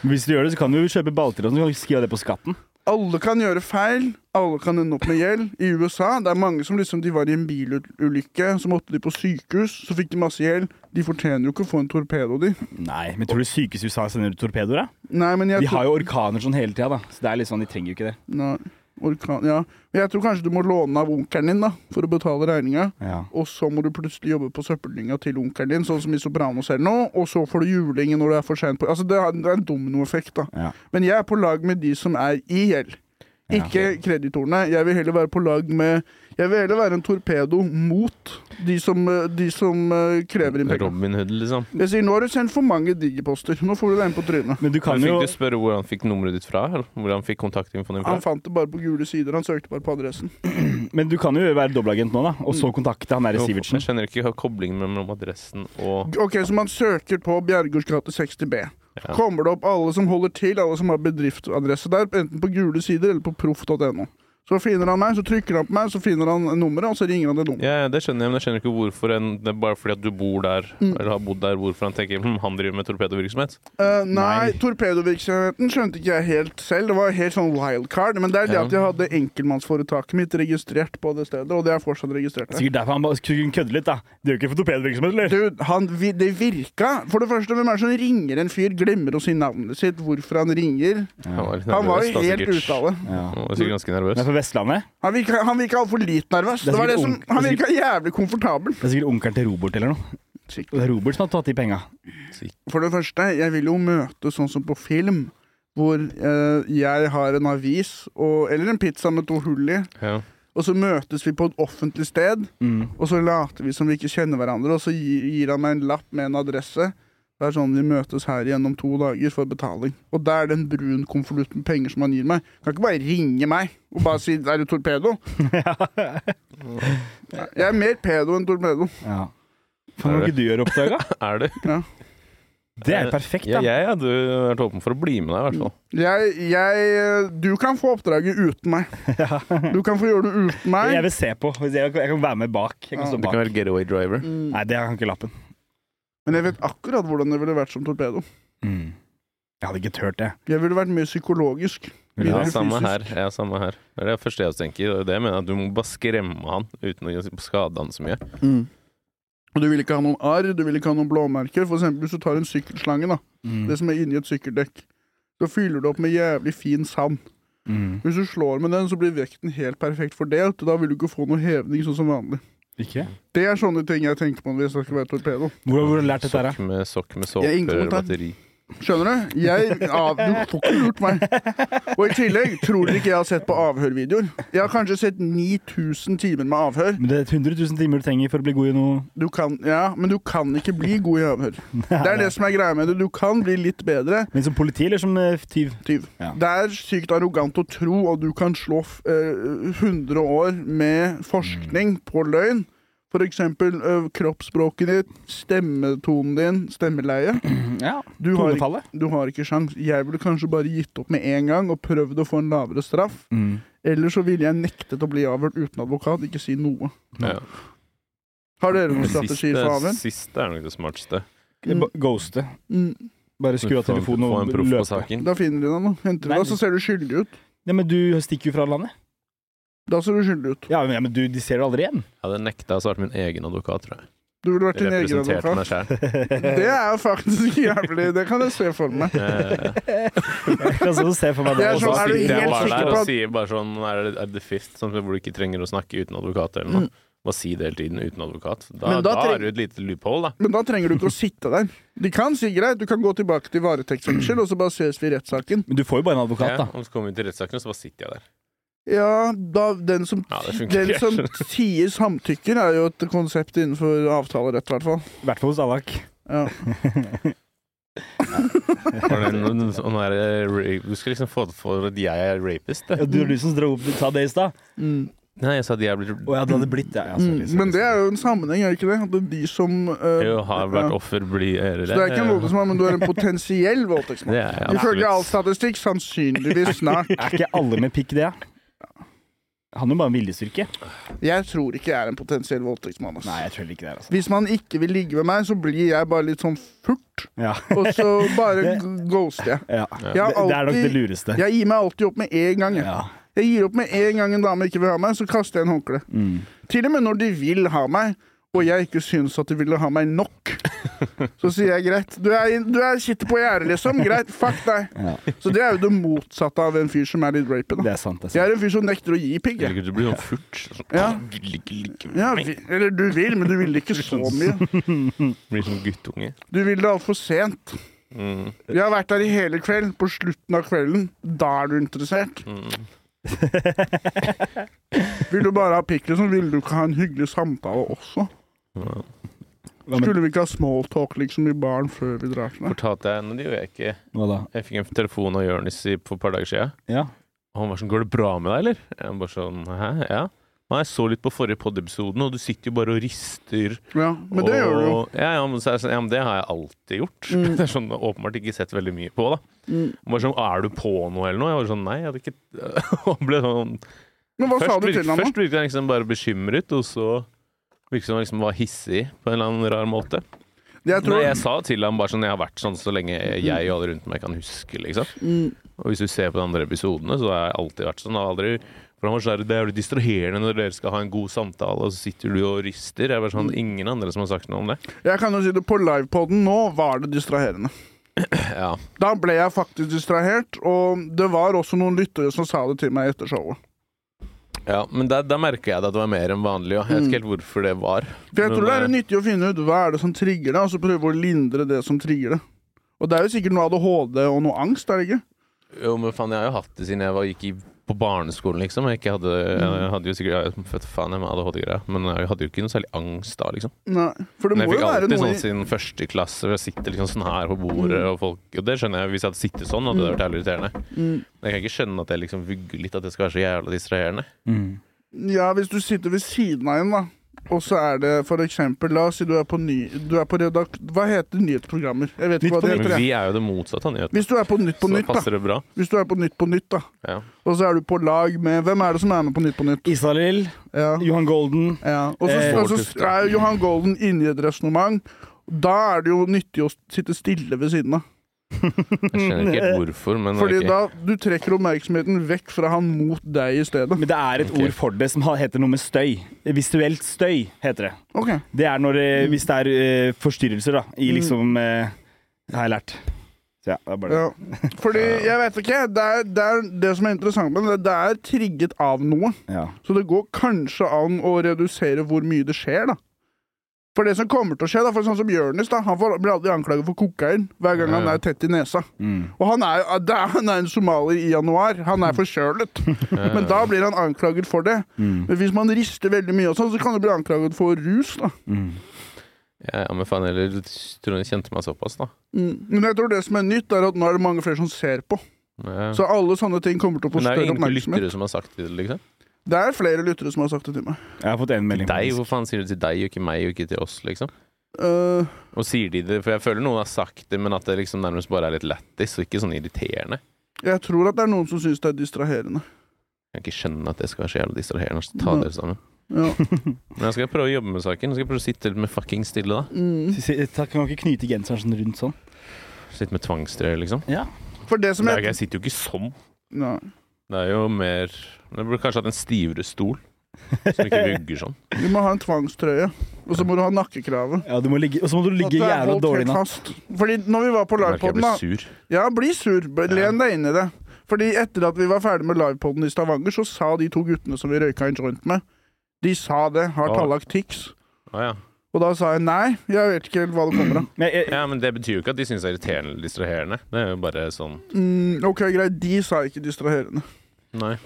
A: Hvis du gjør det, så kan du jo kjøpe balltre og så kan du skrive det på skatten.
B: Alle kan gjøre feil. Alle kan ende opp med gjeld. I USA det er mange som liksom, de var i en bilulykke, så måtte de på sykehus, så fikk de masse gjeld. De fortjener jo ikke å få en torpedo, de.
A: Nei, men tror du sykehuset i USA sender ut torpedoer? da?
B: Nei, men jeg
A: De har jo orkaner sånn hele tida, da. Så det er litt sånn, de trenger jo ikke det.
B: Nei, orkan, ja. Men jeg tror kanskje du må låne av onkelen din da, for å betale regninga.
A: Ja.
B: Og så må du plutselig jobbe på søppeldynga til onkelen din, sånn som i Sopranos eller noe. Og så får du juling når du er for sent på Altså, det er, det er en dominoeffekt, da.
A: Ja.
B: Men jeg er på lag med de som er i gjeld.
A: Ja.
B: Ikke kreditorene. Jeg vil heller være på lag med Jeg vil heller være en torpedo mot de som, eh, de som eh, krever inn penger.
C: Robin Hood, liksom.
B: Jeg sier nå har du sendt for mange digiposter. Nå får du den på trynet.
A: Men du kan
C: Men
A: jo
C: fikk du spørre hvor han fikk nummeret ditt fra? Eller hvor han fikk kontaktinfoen din fra?
B: Han fant det bare på gule sider. Han søkte bare på adressen.
A: Men du kan jo være dobbeltagent nå, da, og så kontakte han der
C: Jo,
A: Sivertsen.
C: Jeg skjønner ikke koblingen mellom adressen og
B: Ok, Så man søker på Bjergårds gate 60B.
C: Ja.
B: Kommer det opp alle som holder til, alle som har bedriftsadresse der, enten på gule sider eller på proff.no. Så finner han meg, så trykker han på meg, så finner han nummeret, og så ringer han det nummeret.
C: ja, ja, det skjønner jeg, men jeg skjønner ikke hvorfor en, det er bare fordi at du bor der,
B: Mm.
C: eller har bodd der, hvorfor han tenker hm, han driver med torpedovirksomhet.
B: Eh, nei,
A: Nei.
B: torpedovirksomheten skjønte ikke jeg helt selv. Det var helt sånn wildcard. Men det er det
C: Ja.
B: at jeg hadde enkeltmannsforetaket mitt registrert på det stedet, og det er fortsatt registrert der.
A: Sikkert derfor han bare kunne kødde litt, da. Det er jo ikke for torpedovirksomhet, eller?
B: Du, han, vi- det virka. For det første, hvem er det som ringer en fyr, glemmer å si navnet sitt, hvorfor han ringer?
C: Han var, litt
B: Han var
C: nervøs
B: jo
C: da,
B: helt
C: sikkert.
B: ute av det.
A: Ja.
C: Han var sikkert ganske nervøs.
A: Men fra Vestlandet?
B: Han virka, han virka altfor litt nervøs.
A: Det er
B: Det var det
A: sikkert
B: som,
A: ung-
B: han
A: det er
B: virka jævlig komfortabel.
A: Det er sikkert onkelen til Robert eller noe. Og det er Robert som har tatt de penga.
B: For det første, jeg vil jo møte sånn som på film, hvor eh, jeg har en avis og, eller en pizza med to hull i,
C: Ja.
B: og så møtes vi på et offentlig sted,
A: (laughs) Mm.
B: og så later vi som vi ikke kjenner hverandre, og så gir, gir han meg en lapp med en adresse. Det er sånn vi møtes her igjen om to dager for betaling. Og det er den brun konvolutt med penger som han gir meg. Kan ikke bare ringe meg og bare si 'er du torpedo'? Jeg er mer pedo enn torpedo.
A: Ja. Faen, hva ikke du gjør oppdaga?
C: Er det?
A: Det er jo perfekt,
C: Ja,
A: da. (laughs)
C: jeg hadde vært åpen for å bli med deg, i hvert fall.
B: Jeg, jeg Du kan få oppdraget uten meg. Du kan få gjøre det uten meg.
A: Jeg vil se på. Hvis Jeg jeg kan være med bak. Jeg kan
B: Ja.
A: stå
C: Du kan
A: bak.
C: være getaway driver.
B: Mm.
A: Nei, det har han ikke lappen.
B: Men jeg vet akkurat hvordan det ville vært som torpedo.
A: Mm. Jeg hadde ikke turt det.
B: Jeg ville vært mye psykologisk.
A: Vil
C: Ja,
A: du?
B: Mindre
C: samme
B: fysisk.
C: her. ja, samme her. Det er det første jeg også tenker. og Det er det jeg mener at Du må bare skremme han uten å skade han så mye.
B: Og Du vil ikke ha noen arr, du vil ikke ha noen blåmerker. For eksempel hvis du tar en sykkelslange, da,
A: Mm.
B: det som er inni et sykkeldekk, så fyller du opp med jævlig fin sand.
A: Mm.
B: Hvis du slår med den, så blir vekten helt perfekt fordelt, og da vil du ikke få noe hevning sånn som vanlig.
A: Ikke?
B: Det er sånne ting jeg tenker på hvis jeg skal være torpedo.
A: Hvor hvor har du lært dette her, da?
C: Sokk med, sokk med
B: Jeg er ingen
C: såperør og
B: kommentar.
C: batteri.
B: Skjønner du? Jeg, av, du får ikke lurt meg. Og i tillegg tror dere ikke jeg har sett på avhørvideoer. Jeg har kanskje sett 9000 timer med avhør.
A: Men det er 100 000 timer du trenger for å bli god i noe.
B: Du kan, ja, men du kan ikke bli god i avhør. Det er det som er greia med det. Du kan bli litt bedre
A: Men som politi eller som eh, tyv?
B: tyv.
A: Ja.
B: Det er sykt arrogant å tro at du kan slå f- eh, 100 år med forskning på løgn. For eksempel eh, kroppsspråket ditt, stemmetonen din, stemmeleie.
A: Ja.
B: Du har,
A: Tonefallet.
B: du har ikke sjans. Jeg ville kanskje bare gitt opp med en gang og prøvd å få en lavere straff.
A: Mm.
B: Eller så ville jeg nektet å bli avhørt uten advokat. Ikke si noe.
C: Ja.
B: Har dere noen
C: Det
B: strategier for
C: Siste,
B: avhør?
C: siste er nok det smarteste.
A: Det er ba- Ghoste.
B: Mm,
A: Bare skru av
C: Få en-
A: telefonen
C: få
A: og
C: en proff på
A: løpe.
C: saken.
B: da finner de deg nå. Henter de
A: Nei,
B: deg, så ser du skyldig ut.
A: Ja, men du stikker jo fra landet.
B: Da ser du skyldig ut.
A: Ja, men, ja, men du, de ser jo aldri igjen.
C: (laughs) Jeg hadde nekta å svare min egen advokat, tror jeg.
B: Du ville vært din egen
C: Representerte
B: advokat.
C: meg sjæl.
B: (laughs) Det er jo faktisk (laughs) jævlig. Det kan jeg se for meg.
A: Jeg kan sånn se for meg det.
B: Jeg er
C: Eh, Og så
B: sånn, er du
C: sitter jeg
B: helt
C: bare
B: sikker
C: der
B: på
C: og
B: at-
C: sier bare sånn Er det, er det fifth, sånn hvor du ikke trenger å snakke uten advokat eller noe? Bare si det hele tiden uten advokat. Da,
B: Men da
C: da,
B: treng-
C: er det jo et lite loophole, da.
B: Men da trenger du ikke å sitte der. De kan si greit, du kan gå tilbake til varetektsfengsel, og så bare ses vi i rettssaken.
A: Men du får jo bare en advokat,
C: Ja,
A: da.
C: og så kommer vi til rettssaken, og så bare sitter jeg der.
B: Ja, da, den som,
C: Ja, det funker
B: den
C: ikke. (laughs)
B: som sier samtykker, er jo et konsept innenfor avtalerett, i hvert fall.
A: I hvert fall hos Allak.
B: Ja.
C: Var det en- en sånn her, eh, ra- Du skal liksom få det for at jeg er rapist.
A: (laughs)
C: det.
A: Ja, du var du som dro opp, sa det i stad?
B: Mm.
C: Nei, jeg sa at jeg er blitt
A: Å ja, det hadde blitt det. Ja, sorry, sorry,
B: Men det er jo en sammenheng, er det ikke det? At de som eh,
C: Jeg har
B: ja.
C: vært offer, blir
B: Så det er ikke en
C: ærere.
B: voldtektsmann, men du er en potensiell voldtektsmann.
C: Det er jeg
B: Ifølge all
C: absolutt.
B: statistikk sannsynligvis snart.
A: sorry. Er ikke alle med pikk det, ja? Han har jo bare en viljestyrke.
B: Jeg tror ikke jeg er en potensiell voldtektsmann. ass.
A: Nei, jeg tror ikke det. er, altså.
B: Hvis man ikke vil ligge med meg, så blir jeg bare litt sånn furt,
A: Ja,
B: og så bare
A: Det-
B: g- ghoster jeg.
A: ja.
B: Jeg,
A: Det,
B: har
A: det er nok det
B: alltid,
A: lureste.
B: jeg gir meg alltid opp med en gang. jeg.
A: Ja.
B: Jeg gir opp med en gang en dame ikke vil ha meg, så kaster jeg en håndkle.
A: Mm.
B: Til og med når de vil ha meg, og jeg ikke syns at de ville ha
A: (laughs)
B: meg nok, så sier jeg greit. Du, er, du er, sitter på gjerdet, liksom. Greit, fuck deg.
A: Ja.
B: Så det er jo det motsatte av en fyr som er litt rapy.
A: Det
B: da.
A: er sant. Det er sant.
B: Jeg er en fyr som nekter å gi pigg. jeg.
C: Eller Du blir sånn furt.
B: Ja.
C: Sånn, «Vil ikke ligge med
B: Ja,
C: meg».
B: vi, eller du vil, men du vil ikke så
A: Sånn.
B: mye.
C: Blir som guttunge.
B: Du vil det altfor sent.
C: Mm.
B: Jeg har vært der i hele kveld. På slutten av kvelden, da er du interessert.
C: Mm.
B: Vil du bare ha pikk, liksom, vil du ikke ha en hyggelig samtale også?
C: Ja.
A: (laughs) Hva, med,
B: Skulle vi ikke ha smalltalk liksom, i baren før vi drar til deg?
C: Fortalte jeg Nå, det gjorde jeg ikke.
A: hva da?
C: Jeg fikk en telefon av Jonis i- for et par dager siden.
A: Ja.
C: Og han var sånn 'Går det bra med deg, eller?' Jeg bare sånn 'Hæ, ja'. Nei, jeg så litt på forrige podiepisoden, og du sitter jo bare og rister.
B: Ja, men det
C: og,
B: gjør du jo.
C: Ja, ja, men, så er det sånn, ja, men det har jeg alltid gjort. (laughs)
B: Mm.
C: Det er sånn åpenbart ikke sett veldig mye på, da.
B: Mm.
C: Bare sånn 'Er du på noe', eller noe? Jeg var sånn 'Nei, jeg hadde ikke (laughs) Han ble sånn
B: Men hva sa
C: Først,
B: du
C: virk,
B: til ham, da?
C: først virket han liksom bare bekymret, og så virket det som han liksom var hissig på en eller annen rar måte.
B: Jeg tror,
C: Nei, jeg sa til ham bare sånn 'Jeg har vært sånn så lenge jeg og alle rundt meg kan huske', liksom.
B: Mm.
C: Og hvis du ser på de andre episodene, så har jeg alltid vært sånn. Jeg har aldri, for han var sånn, Det er jo distraherende når dere skal ha en god samtale, og så sitter du og rister. Jeg er bare sånn, Ingen andre som har sagt noe om det.
B: Jeg kan jo si det på livepoden nå var det distraherende.
C: Ja,
B: Da ble jeg faktisk distrahert, og det var også noen lyttere som sa det til meg etter showet.
C: ja Men da, da merka jeg det at det var mer enn vanlig. Og jeg vet ikke
B: Mm.
C: helt hvorfor det var.
B: For jeg
C: Men
B: tror det
C: det-
B: er nyttig å finne ut hva er det som trigger det, og så prøve å lindre det som trigger det. Og det er jo sikkert noe ADHD og noe angst, er det ikke?
C: Jo, men faen, jeg har jo hatt det siden jeg var, gikk i, på barneskolen, liksom. Jeg, ikke hadde, jeg hadde jo sikkert jeg, vet faen, jeg med ADHD-greier, men jeg hadde jo ikke noe særlig angst da, liksom.
B: Nei, for det
C: Men jeg
B: må
C: fikk
B: jo være
C: alltid
B: noe
C: sånn
B: i Mm.
C: siden første klasse, hvor jeg sitter liksom sånn her på bordet, og folk Og det skjønner jeg, hvis jeg hadde sittet sånn, hadde det vært jævlig irriterende. Men jeg kan ikke skjønne at jeg liksom vugger litt, at det skal være så jævla distraherende.
A: Mm.
B: Ja, hvis du sitter ved siden av en, da. Og så er det for eksempel, la oss si du er på ny... Du er på redakt... Hva heter nyhetsprogrammer? Jeg vet
A: Nytt
B: ikke hva
A: på
B: det
A: Nytt.
C: Men
B: heter. jeg.
C: vi er jo det motsatte av nyhet,
B: Hvis du er på Nytt på
C: så
B: Nytt, da.
C: passer det bra.
B: Hvis du er på Nytt på Nytt, da.
C: Ja.
B: Og så er du på lag med Hvem er det som er med på Nytt på Nytt?
A: Israel,
B: Ja.
A: Johan Golden
B: ja. Og så
A: Eh,
B: og så
C: Bård Tufte.
B: er Johan Golden inne i et resonnement. Da er det jo nyttig å sitte stille ved siden av.
C: Jeg skjønner ikke helt hvorfor, men
B: Fordi
C: ok.
B: da du trekker oppmerksomheten vekk fra han mot deg i stedet.
A: Men det er et
C: Ok.
A: ord for det som ha- heter noe med støy. Visuelt støy heter det.
B: Ok.
A: Det er når, eh, hvis det er eh, forstyrrelser, da, i liksom eh, Det har jeg lært. Så ja, det er bare det.
B: Ja. Fordi, jeg vet ikke, det er, det er det som er interessant med det, det er trigget av noe.
A: Ja.
B: Så det går kanskje an å redusere hvor mye det skjer, da. For det som kommer til å skje, da, for sånn som Jonis, da, han får- blir aldri anklaget for kokain hver gang han
C: Ja.
B: er tett i nesa.
A: Mm.
B: Og han er, jo- det er- han er en somalier i januar. Han
C: Mm.
B: er forkjølet.
C: Eh,
B: Men da blir han anklaget for det.
A: Mm.
B: Men hvis man rister veldig mye, og sånn, så kan du bli anklaget for rus. da.
A: Mm.
C: Ja, ja, men faen heller, du tror hun kjente meg såpass, da.
B: Mm. Men jeg tror det som er nytt, er at nå er det mange flere som ser på.
C: Ja.
B: Så alle sånne ting kommer til å få
C: eh, Men det er jo
B: større
C: ingen
B: oppmerksomhet.
C: lyttere som har sagt det, liksom.
B: Det er flere lyttere som har sagt det til meg.
A: Jeg har fått én melding.
C: Deg,
A: faktisk.
C: Hvor faen sier du til deg, og ikke meg, og ikke til oss, liksom?
B: Eh,
C: Og sier de det, for jeg føler noen har sagt det, men at det liksom nærmest bare er litt lættis, og ikke sånn irriterende.
B: jeg tror at det er noen som syns det er distraherende.
C: Jeg kan ikke skjønne at det skal være så jævlig distraherende. Så ta dere sammen.
B: Ja.
C: Men jeg skal prøve å jobbe med saken. Jeg skal prøve å sitte litt med fucking stille, da.
B: Mm.
A: Si- si- eh, ta- Kan man ikke knyte genseren sånn rundt sånn?
C: Sitte med tvangstrøye, liksom.
A: Ja.
B: For det som
C: Det er,
B: jeg
C: ikke- jeg sitter jo ikke sånn.
B: Nei.
C: Det er jo mer Jeg burde kanskje hatt en stivere stol, som ikke vugger
B: (laughs)
C: sånn.
B: Du må ha en tvangstrøye, og så må du ha nakkekravet.
A: ja du må ligge, og så må du
B: At det
A: ligge
B: er
A: jævla
B: holdt
A: dårlig
B: helt
A: nå.
B: fast. Fordi når vi var på
C: Jeg merker jeg
B: livepoden, da
C: blir sur.
B: Ja, bli sur. B- Len deg inn i det. Fordi etter at vi var ferdig med livepoden i Stavanger, så sa de to guttene som vi røyka en joint med, de sa det. Har
C: Ja.
B: Tallak tics?
C: Å, ja.
B: Og da sa jeg nei, jeg vet ikke helt hva det
A: (clears throat)
B: kommer av.
A: Men jeg, jeg,
C: ja, men det betyr jo ikke at de syns det er irriterende eller distraherende. Det er jo bare sånn
B: Mm, ok, greit, de sa ikke distraherende.
C: Nei.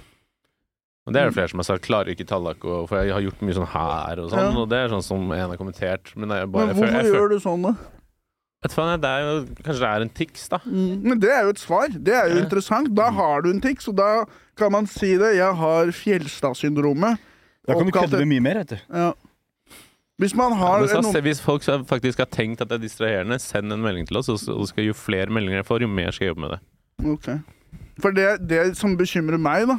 C: Og det er det flere som har sagt. Klarer ikke tallak å For jeg har gjort mye sånn her og sånn,
B: Ja.
C: og det er sånn som en har kommentert. Men jeg bare
B: Men
C: jeg
B: hvorfor
C: føler- jeg føler-
B: gjør du sånn, da?
C: Vet du faen, jeg, det er jo, kanskje det er en tics, da.
B: Mm. Men det er jo et svar. Det er jo interessant. Da har du en tikk, så da kan man si det. Jeg har Fjelstad-syndromet.
A: Da kan du
B: Oppkalt
A: kødde
B: et-
A: med mye mer, vet du.
B: Ja. Hvis man har
C: Men sånn så,
B: noen
C: se- hvis folk så faktisk har tenkt at det er distraherende, send en melding til oss. Og så og skal jo flere meldinger jeg får, jo mer skal jeg jobbe med det.
B: Ok. For det, det som bekymrer meg, da,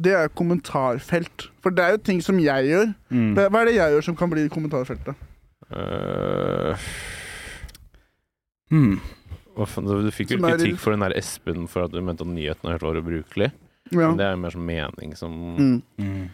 B: det er kommentarfelt. For det er jo ting som jeg gjør.
A: Mm.
B: Hva er det jeg gjør som kan bli i kommentarfeltet?
C: Øh,
A: Mm.
C: hva faen, du fikk jo
B: Som er-
C: kritikk for den der Espen for at du mente at nyhetene hørte var ubrukelig.
B: Ja.
C: Men det er jo mer sånn mening som
B: Mm.
A: Mm.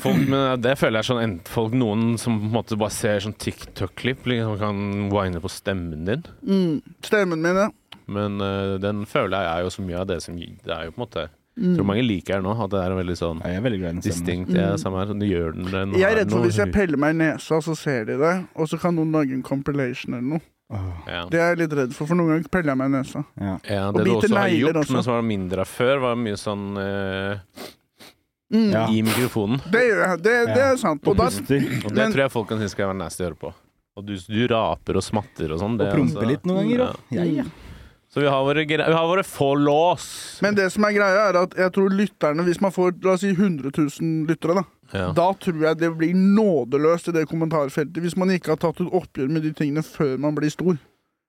C: folk, Men det føler jeg er sånn ent- folk Noen som på en måte bare ser sånn TikTok-klipp, liksom kan wine på stemmen din.
B: Mm. Stemmen min, ja.
C: Men øh, den føler jeg er jo så mye av det som Det er jo på en måte Jeg tror
B: Mm.
C: mange liker den nå, at det er en veldig sånn
A: Ja, jeg er veldig glad i den stemmen.
C: distinkt ja, samme her, sånn, du gjør den, den
B: Jeg er
C: har
B: redd for
C: noe-
B: hvis jeg peller meg i nesa, så ser de det. Og så kan noen lage en compilation eller noe.
A: Åh,
C: ja.
B: Det er jeg litt redd for, for noen ganger peller jeg meg i nesa.
A: ja.
C: Ja,
B: Og
C: det du
B: biter
C: også har
B: negler
C: gjort,
B: også.
C: men som var mindre av før, var mye sånn eh,
B: Mm.
A: Ja.
C: i mikrofonen.
B: Det gjør jeg. Det, det
A: Ja.
B: er sant.
A: Og
B: Og da
A: puster.
C: Og det
B: Men-
C: tror jeg folk kan synes skal være nasty å høre på. Og du, du raper og smatter og sånn.
A: Og
C: det er
A: promper
C: altså-
A: litt noen ganger
C: Ja.
A: òg. Ja, ja.
B: Mm.
C: Så vi har våre, gre- vi har våre få lås.
B: Men det som er greia, er at jeg tror lytterne, hvis man får la oss si 100 000 lyttere, da,
C: ja.
B: da tror jeg det blir nådeløst i det kommentarfeltet hvis man ikke har tatt et oppgjør med de tingene før man blir stor.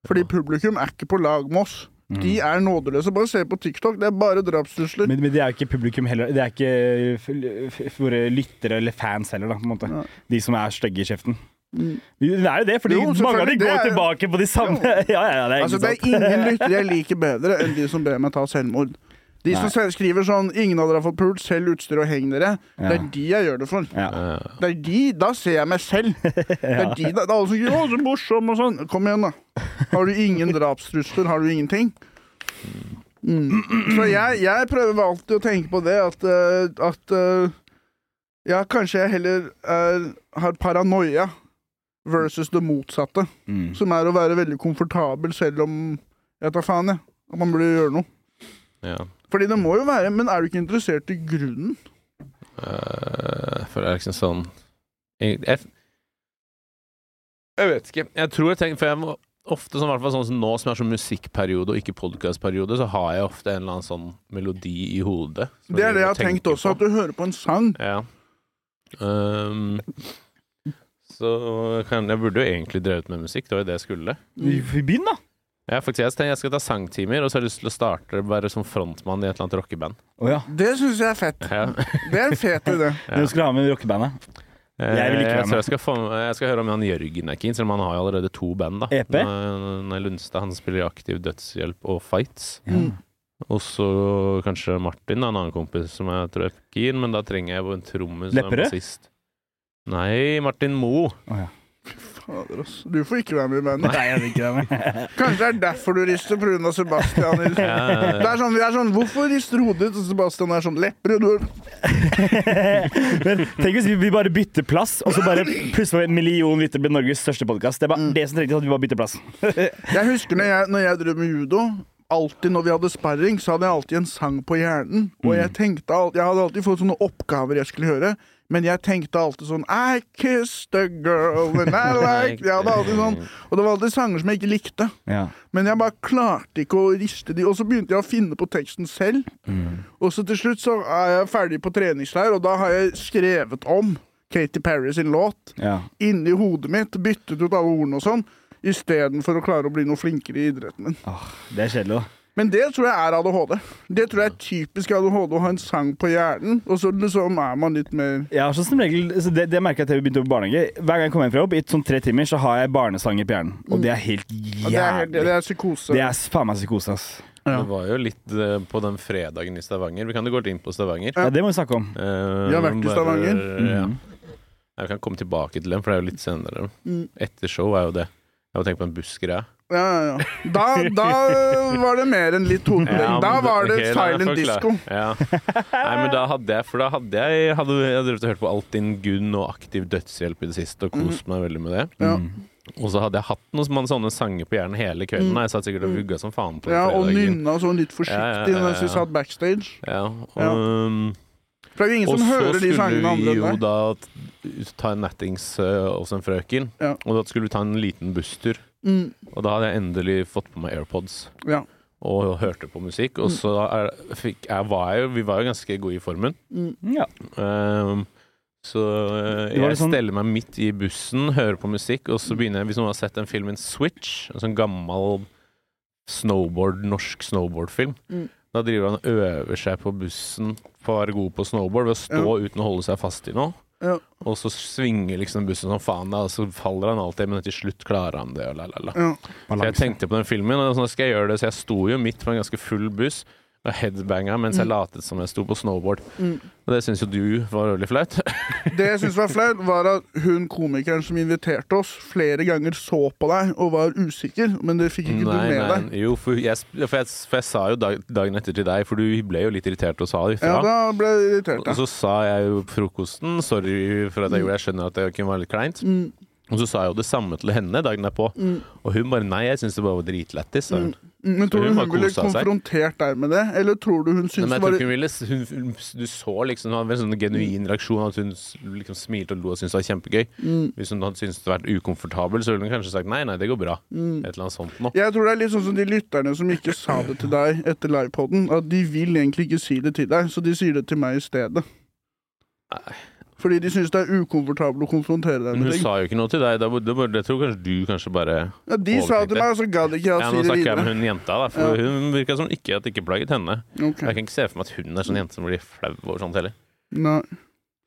B: Fordi publikum er ikke på lag med oss.
A: Mm.
B: De er nådeløse. Bare se på TikTok, det er bare drapstrusler.
A: Men, men det er jo ikke publikum heller. Det er ikke f- f- f- våre lyttere eller fans heller, da, på en måte.
B: Nei.
A: De som er stygge i kjeften.
B: Mm.
A: Jo, Det er jo det, fordi
B: Jo,
A: mange av de
B: selvfølgelig, det
A: går
B: er-
A: tilbake på de samme (laughs) Ja, ja, ja, det er
B: Altså,
A: ikke
B: det
A: sant.
B: er
A: (laughs)
B: ingen lyttere jeg liker bedre enn de som ber meg ta selvmord. De som
A: Nei.
B: selv skriver sånn 'Ingen av dere har fått pult. Selg utstyr og heng dere'. Det er
A: Ja.
B: de jeg gjør det for.
A: Ja.
C: Eh,
B: Det er de, da ser jeg meg selv.
A: (laughs)
B: Det er de, da, det er alle som sier 'å, så morsom' og sånn. Kom igjen, da. Har du ingen drapstrusler? Har du ingenting? Mm. Så jeg, jeg prøver alltid å tenke på det at, eh, at eh, Ja, kanskje jeg heller er, har paranoia versus det motsatte,
A: Mm.
B: som er å være veldig komfortabel selv om Jeg tar faen, jeg. At man burde gjøre noe.
C: ja.
B: Fordi det må jo være Men er du ikke interessert i grunnen?
C: Eh, for det er liksom sånn jeg, jeg, jeg vet ikke. Jeg tror jeg tenker For jeg må ofte sånn, i hvert fall sånn som nå som er sånn musikkperiode og ikke podcastperiode, så har jeg ofte en eller annen sånn melodi i hodet. som
B: Det er det jeg
C: driver og
B: har tenkt
C: tenker
B: også,
C: på.
B: at du hører på en sang.
C: Ja. Ehm, så kan, jeg burde jo egentlig drevet med musikk, det var jo det jeg skulle.
A: Begynn, da!
C: Jeg, har faktisk, jeg tenker jeg skal ta sangtimer, og så har jeg lyst til å starte være som frontmann i et eller annet rockeband.
A: Å ja.
B: Det syns jeg er fett.
C: Ja.
B: Det er en fet idé.
A: (laughs) Hvem skulle ha med rockebandet? Jeg vil ikke være
C: Eh, jeg,
A: med.
C: tror jeg, skal få, jeg skal høre om han Jørgen er keen, selv om han har jo allerede to band. da
A: EP?
C: Nei, Nei, Lundstad han spiller i Aktiv Dødshjelp og Fights.
B: Mm.
C: Og så kanskje Martin, da, en annen kompis som jeg tror er keen, men da trenger jeg jo en trommis. og en
A: Lepperød?
C: bassist. Nei, Martin Moe.
B: Fader, ass. Du får ikke være med i bandet.
A: (laughs) Nei, jeg vil ikke være med.
B: Kanskje det er derfor du rister på grunn av Sebastian. i-
C: (laughs) Ja, ja,
A: (laughs)
C: ja.
B: Det er sånn, vi er sånn, Hvorfor rister hodet ditt? Og Sebastian er sånn Lepperød. du har-
A: Men tenk hvis vi- vi bare bytter plass, og så bare plutselig en million lyttere blir Norges største podkast. Det er bare det som trengs, at vi bare bytter plass.
B: Jeg husker når jeg, når jeg drev med judo. Alltid når vi hadde sparring, så hadde jeg alltid en sang på hjernen. Og
C: Mm.
B: jeg tenkte alt, jeg hadde alltid fått sånne oppgaver jeg skulle gjøre. Men jeg tenkte alltid sånn I kissed a girl and
C: (laughs)
B: I liked Jeg hadde alltid sånn Og det var alltid sanger som jeg ikke likte.
A: Ja.
B: Men jeg bare klarte ikke å riste de Og så begynte jeg å finne på teksten selv. Og så til slutt så er jeg ferdig på treningsleir, og da har jeg skrevet om Katy Perry sin låt
A: ja.
B: inni hodet mitt, byttet ut alle ordene og sånn, istedenfor å klare å bli noe flinkere i idretten min.
A: Åh, det er kjedelig, da.
B: Men det tror jeg er ADHD. Det tror jeg er typisk ADHD å ha en sang på hjernen, og så liksom er man litt mer
A: Jeg har sånn som regel, så det, det merker jeg til vi begynte på barnehage. Hver gang jeg kommer hjem fra jobb, i sånn tre timer, så har jeg barnesanger på hjernen. Og det er helt
B: ja, det, er, helt- det
A: jævlig.
B: er psykose.
A: Det er faen meg psykose, ass.
B: Ja.
C: Det var jo litt eh, på den fredagen i Stavanger. Vi kan jo gå inn på Stavanger.
A: Ja, det må vi snakke om.
C: Eh,
B: Vi har vært i
C: bare- eh,
B: Stavanger.
C: Ja.
A: Mm.
C: Jeg kan komme tilbake til dem, for det er jo litt senere.
B: Mm.
C: Etter show er jo det. Jeg har tenkt på en bussgreie.
B: Ja, ja, ja. Da, da var det mer enn litt hodepine.
C: (laughs) Ja,
B: (laughs) Da
C: men-
B: var det
C: ok, la meg
B: silent
C: forklare.
B: disco.
C: Ja. (laughs) Nei, men da hadde jeg For da hadde jeg hadde, jeg drevet og hørt på Alt din Gunn og Aktiv Dødshjelp i det
B: Mm.
C: siste og kost meg veldig med det.
B: Ja.
A: Mm.
C: Og så hadde jeg hatt noen sånne- sånne sanger på hjernen hele kvelden. Jeg satt sikkert og vugga som faen på den
B: Mm. Ja, og
C: fredagen.
B: nynna sånn litt forsiktig
C: Ja, ja, ja, ja.
B: mens vi satt backstage.
C: Ja, og,
B: Ja.
C: um,
B: For det er jo ingen
C: Og
B: som
C: så
B: hører de
C: skulle
B: sangene
C: vi
B: andre
C: jo
B: enn deg.
C: da t- ta en nattings eh, hos en frøken,
B: Ja.
C: og da skulle vi ta en liten busstur.
B: Mm,
C: Og da hadde jeg endelig fått på meg AirPods
B: ja.
C: og hørte på musikk.
A: Mm.
C: Og så er, fikk, jeg var jeg, jo- vi var jo ganske gode i formen.
B: mm,
A: Ja.
C: Ehm, så eh,
A: Det var
C: jeg
A: litt sånn-
C: steller meg midt i bussen, hører på musikk, og så begynner jeg Hvis noen har sett den filmen Switch, en sånn gammel snowboard, norsk snowboardfilm,
B: Mm.
C: da driver han og øver seg på bussen på å være god på snowboard ved å stå uten å holde seg fast i noe.
B: Ja.
C: Og så svinger liksom bussen som faen, da, og så faller han alltid, men til slutt klarer han det. Og la, la, la.
B: ja.
C: Så jeg tenkte på den filmen, og sånn skal jeg gjøre det, så jeg sto jo midt på en ganske full buss og headbanga mens jeg latet som jeg sto på snowboard.
B: Mm.
C: Og det syns jo du var veldig flaut.
B: Det jeg syntes var flaut, var at hun komikeren som inviterte oss, flere ganger så på deg og var usikker, men det fikk (laughs) ikke du med deg.
C: Jo, for jeg, sp- for jeg, for jeg sa jo dag, dagen etter til deg, for du ble jo litt irritert og sa
B: Ja,
C: ifra.
B: da ble jeg irritert.
C: og
B: Ja.
C: så sa jeg jo på frokosten sorry for at jeg gjorde det, jeg skjønner at det kunne være litt kleint.
B: Mm,
C: Og så sa jeg jo det samme til henne dagen derpå,
B: Mm.
C: og hun bare nei, jeg syns det bare var dritlættis. sa hun.
B: men tror du hun,
C: Hun bare
B: ville
C: kosa seg.
B: konfrontert deg med det, eller tror du hun
C: Nei,
B: syntes det
C: Men jeg tror
B: var
C: ikke hun ville s- hun, hun, Du så liksom, hun hadde en sånn genuin reaksjon, at hun s- liksom smilte og lo og syntes det var kjempegøy.
B: Mm.
C: Hvis hun hadde syntes det hadde vært ukomfortabel, så ville hun kanskje sagt nei, nei, det går bra.
B: Mm.
C: Et eller annet sånt nå.
B: Jeg tror det er litt sånn som de lytterne som ikke sa det til deg etter livepoden. At de vil egentlig ikke si det til deg, så de sier det til meg i stedet.
C: Nei.
B: Fordi de syns det er ukomfortabelt å konfrontere deg
C: Men
B: med
C: hun
B: ting.
C: sa jo ikke noe til deg. Da, da, jeg tror kanskje du kanskje bare
B: Ja, de sa det til meg, og så gadd ikke jeg
C: Ja,
B: å
C: nå
B: si det
C: snakker jeg
B: videre.
C: med hun jenta, da, for hun virka som ikke at det ikke plaget henne.
B: Ok.
C: Jeg kan ikke se for meg at hun er sånn jente som blir flau over sånt heller.
B: Nei.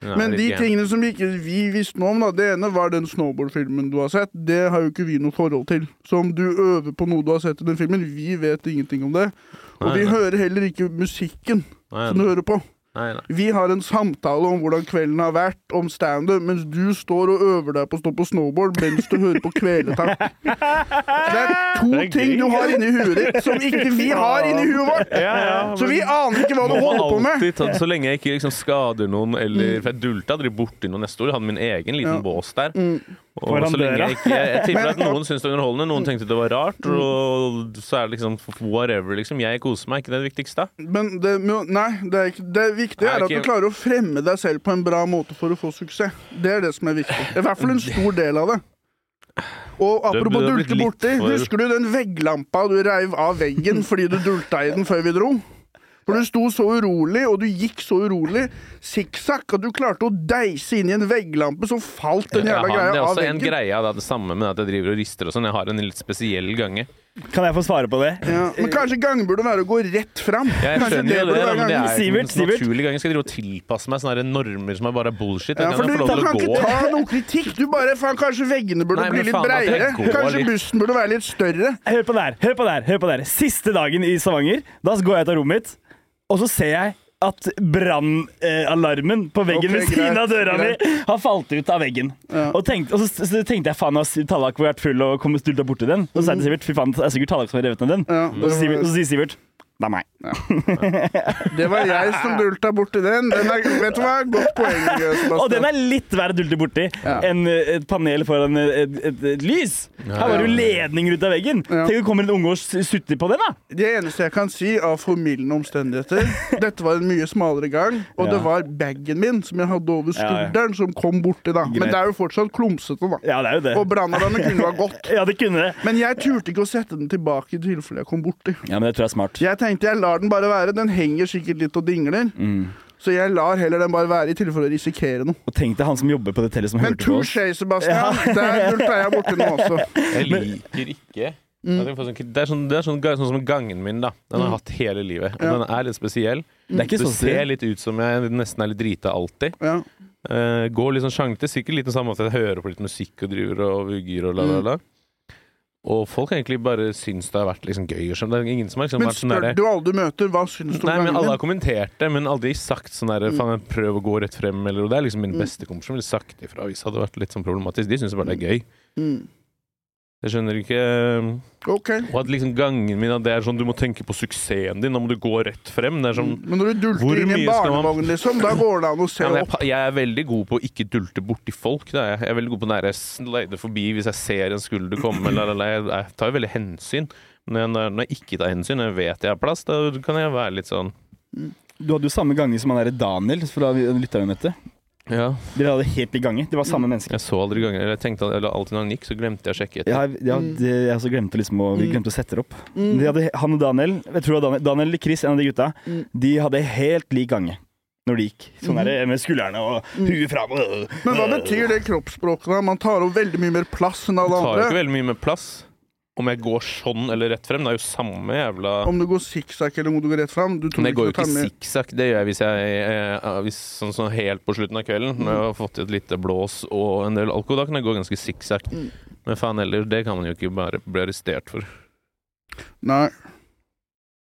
C: Hun er
B: Men
C: litt
B: de
C: gæren.
B: tingene som ikke vi visste noe om, da, det ene var den snowboardfilmen du har sett. Det har jo ikke vi noe forhold til. Så om du øver på noe du har sett i den filmen, vi vet ingenting om det. Og
C: Nei,
B: vi
C: nei.
B: hører heller ikke musikken
C: Nei,
B: som du hører på.
C: nei, nei.
B: Vi har en samtale om hvordan kvelden har vært, om standup, mens du står og øver deg på å stå på snowboard mens du hører på kvelertak. Det er to
A: Det er
B: ting
A: gøy.
B: du har inni huet ditt som ikke vi har inni huet vårt!
A: Ja, ja.
B: Så vi aner ikke hva du
C: Må
B: holder på med! Mm.
C: alltid ta det, så lenge jeg ikke liksom skader noen, eller For jeg dulta aldri borti noen neste år. Jeg hadde min egen liten
B: Ja. Mm.
C: bås der. Og
A: Foran
C: så lenge
A: døra.
C: jeg ikke Jeg tipper at noen syntes det var underholdende, noen tenkte det var rart,
B: Mm.
C: og så er det liksom whatever, liksom. Jeg koser meg, ikke det viktigste.
B: Men det, må- nei, det, er ikke, det viktige
C: Nei,
B: er at
C: ikke-
B: du klarer å fremme deg selv på en bra måte for å få suksess. Det er det som er viktig. I hvert fall en stor del av det. Og
C: Det-
B: apropos
C: det har blitt
B: dulte
C: litt
B: borti,
C: for-
B: husker du den vegglampa du reiv av veggen fordi du dulta i den før vi dro? For du sto så urolig, og du gikk så urolig, sikksakk, at du klarte å deise inn i en vegglampe, så falt den
C: Jeg
B: jævla
C: har, det
B: greia
C: er
B: av
C: også en
B: veggen.
C: greie av det, det samme med at jeg driver og rister og sånn. Jeg har en litt spesiell gange.
A: Kan jeg få svare på det?
B: Ja, men kanskje gangen burde være å gå rett fram?
C: Jeg
B: Kanskje
C: skjønner jo det,
B: burde være
C: men det
B: gangen.
C: er jo
A: Sivert,
C: en sånn
A: Sivert.
C: naturlig gang. Jeg skal drive og tilpasse meg sånne her normer som er bare bullshit.
B: Ja,
C: Jeg
B: for
C: kan
B: du,
C: få lov
B: kan
C: til å
B: ikke
C: gå.
B: ta noe kritikk. Du bare, faen, Kanskje veggene burde
C: Nei, men
B: bli litt
C: faen, at jeg
B: breiere.
C: går
B: Kanskje
C: litt-
B: bussen burde være litt større.
A: Hør på det her, hør på det her, hør på det her. Siste dagen i Stavanger, da går jeg ut av rommet mitt, og så ser jeg at brannalarmen på veggen
B: Ok,
A: ved siden av
B: greit,
A: døra mi har falt ut av veggen. Og, tenkte, og så, så tenkte jeg faen, har Tallak vært full og kommet stulta borti den? Og så sier jeg til Sivert fy faen, det er sikkert Tallak som har revet ned den.
B: Ja,
A: Og så
B: det,
A: sier, så
B: var,
A: sier Sivert det er meg.
B: det var jeg som dulta borti den. den er, vet du hva? Godt poeng. Sebastian.
A: Og den er litt verre dulte borti
B: Ja.
A: enn eh, et panel foran eh, et, et, et lys. Her var det jo ledninger ut av veggen.
B: Ja.
A: Tenk om det kommer en unge og s- sutter på den, da.
B: Det eneste jeg kan si av formildende omstendigheter Dette var en mye smalere gang, og det
A: Ja.
B: var bagen min som jeg hadde over
A: Ja, ja.
B: skulderen, som kom borti, da. Men
A: Greit.
B: det er jo fortsatt klumsete, da.
A: Ja, det er jo det.
B: Og brannalarmen kunne ha gått.
A: Ja, det kunne det.
B: Men jeg turte ikke å sette den tilbake i tilfelle jeg kom borti.
A: Ja, men det tror jeg er smart.
B: Jeg tenkte jeg lar den bare være. Den henger sikkert litt og dingler.
A: Mm.
B: Så jeg lar heller den bare være i tilfelle å risikere noe.
A: Og tenk deg han som jobber på det hotellet som
B: Men
A: hørte på oss.
B: touché, Sebastian. (laughs) Der dulta jeg borti
A: (laughs)
B: nå også.
C: Jeg liker ikke
B: Mm.
C: at jeg får sånn, Det er, sånn, det er sånn, ga- sånn som gangen min, da. Den har jeg hatt hele livet. Og
B: Ja. sånn
C: den er litt spesiell.
A: Det er ikke
C: Det
A: så
C: ser
A: sted.
C: litt ut som jeg nesten er litt drita alltid.
B: Ja.
C: Eh, går litt sånn sjanglete. Sikkert litt det samme at jeg hører på litt musikk og driver og vugger og la,
B: Mm.
C: la, la. Og folk egentlig bare syns det har vært liksom gøy. og sånn. Det er ingen som har liksom
B: Men
C: vært sånn
B: spør
C: derre
B: du alle du møter, hva syns du om
C: Nei, men
B: gangen
C: Alle har
B: din? Mm.
C: kommentert det, men aldri sagt sånn der, faen, jeg prøv å gå rett frem. Eller, og det er liksom min beste kompis som ville sagt ifra hvis det hadde vært litt sånn problematisk. De syns bare det er gøy.
B: Mm.
C: Jeg skjønner ikke eh,
B: OK.
C: Og at liksom gangen min at det er sånn du må tenke på suksessen din, nå må du gå rett frem. Det er sånn
B: Mm. Men når du
C: Hvor
B: dulter inn i en
C: mye skal man-
B: barnevogn, liksom, da går det an å se
C: ja, men jeg,
B: opp.
C: pa- jeg er veldig god på å ikke dulte borti folk. Det er jeg. jeg er veldig god på når jeg slider forbi hvis jeg ser en skulder komme. Eller, eller, jeg, jeg tar jo veldig hensyn. Men når jeg- når jeg ikke tar hensyn, og jeg vet jeg har plass, da kan jeg være litt sånn
A: Du hadde jo samme gange som han der Daniel fra lytteren vi møtte.
C: Ja,
A: Dere hadde helt lik gange. Det var
B: Mm.
A: samme menneske.
C: jeg så aldri ganger Eller jeg tenkte eller alltid når han gikk, så glemte jeg å sjekke etter.
A: Ja, ja, det, jeg også glemte liksom å, vi
B: Mm.
A: glemte å sette det opp.
B: Mm.
A: De hadde, han og Daniel jeg tror det var Daniel, Daniel eller Chris, en av de gutta,
B: Mm.
A: de hadde helt lik gange når de gikk. Sånn
B: Mhm.
A: der, med skuldrene og huet fram. og-
B: Mm. Men hva betyr det kroppsspråket? da? Man tar opp veldig mye mer plass enn
C: Det
B: alle
C: tar jo ikke
B: andre.
C: veldig mye med plass. Om jeg går sånn eller rett frem, det er jo samme jævla
B: Om du går sikksakk eller om du går rett fram. Du tror
C: Men jeg går jo
B: du tar
C: ikke
B: med-
C: sikksakk. Det gjør jeg hvis jeg eh, hvis, sånn, sånn helt på slutten av kvelden, når jeg har fått i et lite blås og en del alkohol, da kan jeg gå ganske sikksakk.
B: Mm.
C: Men faen heller, det kan man jo ikke bare bli arrestert for.
B: Nei.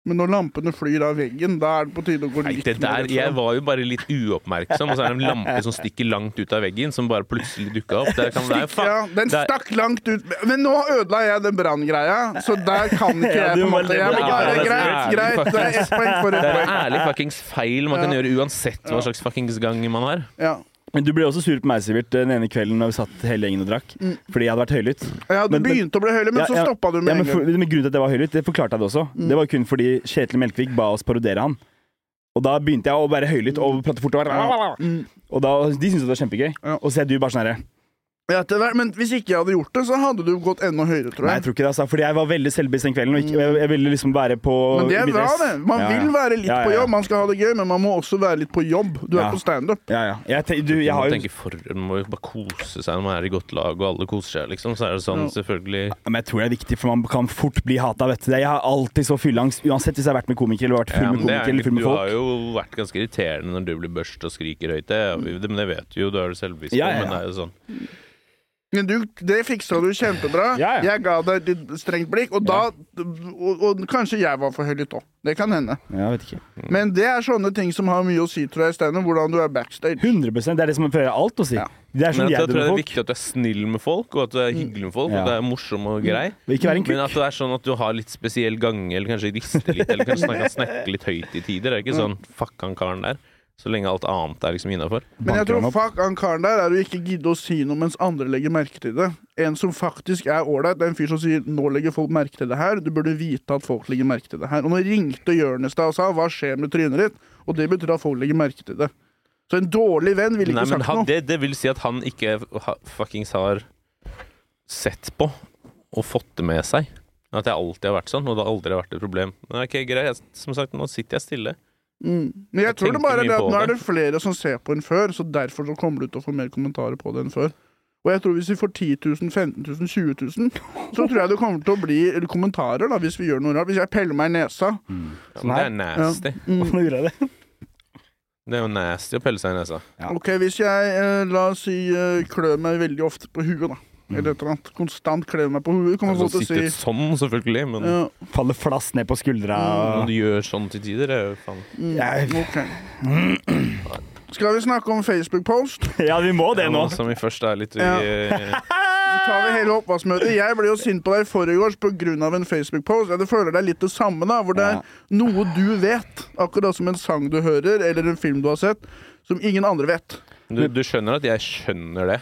B: Men når lampene flyr av veggen, da er det på tide å gå
C: Nei,
B: litt
C: det der,
B: rett
C: jeg
B: fram.
C: var jo bare litt uoppmerksom, og så er det en lampe som stikker langt ut av veggen, som bare plutselig dukka opp. Det kan være faen.
B: Ja, den
C: Det er-
B: stakk langt ut Men nå ødela jeg den branngreia, så der kan
A: (laughs)
B: ikke
A: Ja, du
B: jeg på en
A: må
B: måte
A: leve
B: Jeg må
A: med
B: bare
A: det.
B: greit, greit. Det er ett poeng for
C: Det
B: ett
C: er en
B: poeng.
C: ærlig fuckings feil man kan
B: Ja.
C: gjøre uansett hva slags fuckings gang man har.
B: Ja.
A: Men du ble også sur på meg, Sivert, den ene kvelden når vi satt hele gjengen og drakk.
B: Mm.
A: Fordi jeg hadde vært høylytt.
B: ja, du
A: Men- men-
B: begynte å bli høylig, men
A: Ja,
B: så
A: ja.
B: stoppa du
A: Ja,
B: med
A: men,
B: en
A: for,
B: gang. Mm.
A: men grunnen til at jeg var høylytt, det forklarte jeg det også. Det var kun fordi Kjetil Melkvik ba oss parodere han. Og da begynte jeg å være høylytt og prate fort. Og, bare,
B: Mm.
A: og da, de syntes det var kjempegøy.
B: Ja.
A: Og så er du bare sånn herre
B: Ja, det der- Men hvis ikke jeg hadde gjort det, så hadde du gått enda høyere, tror
A: Nei, jeg
B: jeg.
A: tror ikke det, altså. Fordi jeg var veldig selvbevisst den kvelden. Og ikke, jeg, jeg ville liksom være på
B: Mm. Men det er
A: mitt
B: bra,
A: ess.
B: det. Man
A: Ja, ja.
B: vil være litt
A: Ja, ja,
B: på
A: ja.
B: jobb, man skal ha det gøy, men man må også være litt på jobb. Du er
A: Ja.
B: på standup.
A: Ja, ja. Jeg, te- du, jeg
C: Man
A: har jo
C: tenker for, man må jo bare kose seg når man er i godt lag, og alle koser seg, liksom. Så er det sånn, selvfølgelig
A: Ja, Men jeg tror det er viktig, for man kan fort bli hata, vet du. Jeg har alltid så fylleangst, uansett hvis jeg har vært med komikere eller vært full
C: Ja,
A: med
C: men det
A: komikere
C: er
A: eller full
C: egentlig-
A: med
C: du har
A: folk.
C: jo vært ganske irriterende når du blir børst og skriker høyt. Det, er vi- det, men det vet du jo, du er jo selvbevisst på,
A: Ja, ja, ja.
C: men det er jo sånn.
B: Men du, det fiksa du kjempebra.
A: Ja, ja.
B: Jeg ga deg et litt strengt blikk, og da og, og kanskje jeg var for høylytt òg. Det kan hende.
A: Ja, jeg vet ikke.
B: Men det er sånne ting som har mye å si, tror jeg, Steinar. Hvordan du er backstage.
A: 100 Det er det som fører alt å si.
B: Ja.
A: Det er
C: Men
A: som
C: at,
A: jeg gjør
C: jeg tror det
A: med
C: er
A: folk.
C: viktig at du er snill med folk, og at du er hyggelig med folk,
A: Ja. Mm.
C: og det er morsom og grei.
A: Men Ikke være en
C: Men at
A: kukk.
C: det er sånn at du har litt spesiell gange, eller kanskje rister litt, eller kanskje snakke, snakke litt høyt i tider. Det er ikke sånn fuck han karen der. Så lenge alt annet er liksom innafor.
B: Men
A: Banker han
B: jeg tror
A: opp.
B: fuck han karen der er å ikke gidde å si noe mens andre legger merke til det. En som faktisk er ålreit, det er en fyr som sier 'nå legger folk merke til det her', du burde vite at folk legger merke til det her. Og nå ringte Jonis deg og sa 'hva skjer med trynet ditt', og det betyr at folk legger merke til det. Så en dårlig venn ville
C: Nei,
B: ikke
C: men
B: sagt
C: han,
B: noe.
C: det, det vil si at han ikke ha, fuckings har sett på og fått det med seg. At jeg alltid har vært sånn, og det har aldri vært et problem. Nei, ok, greit, jeg, som sagt, nå sitter jeg stille.
B: Mm. Men jeg,
C: Jeg
B: tror det
C: tenkte
B: bare er
C: mye
B: det at
C: på
B: nå er
C: det.
B: det flere som ser på enn før, så derfor så kommer du til å få mer kommentarer på det enn før. Og jeg tror hvis vi får 10 000, 15 000, 20 000, så tror jeg det kommer til å bli kommentarer da, hvis vi gjør noe rart. Hvis jeg peller meg i nesa
C: Ja, men Sånn,
A: (laughs)
C: det er nasty.
A: Nå gjorde jeg det.
C: Det er jo nasty å pelle seg i altså. nesa.
A: Ja.
B: Ok, hvis jeg, eh, la oss si, eh, klør meg veldig ofte på huet, da. Eller et eller annet. Konstant klør meg på huet, kan man
C: Altså,
B: få til å
C: sitter
B: si.
C: Mm. sånn, selvfølgelig, men
B: Ja,
A: Faller flass ned på skuldra.
C: når du gjør sånn til tider, det er jo faen
A: Jeg-
B: ok. mm, Skal vi snakke om Facebook-post?
A: Ja, vi må det nå.
C: Mm. Ja, Som vi først er litt
B: Ja.
C: ja.
B: tar vi hele oppvaskmøtet. Jeg ble jo sint på deg i forgårs pga. en Facebook-post. Jeg føler det er litt det samme, da, hvor det er
A: Ja.
B: noe du vet, akkurat som en sang du hører, eller en film du har sett, som ingen andre vet.
C: (laughs) du, du skjønner at jeg skjønner det.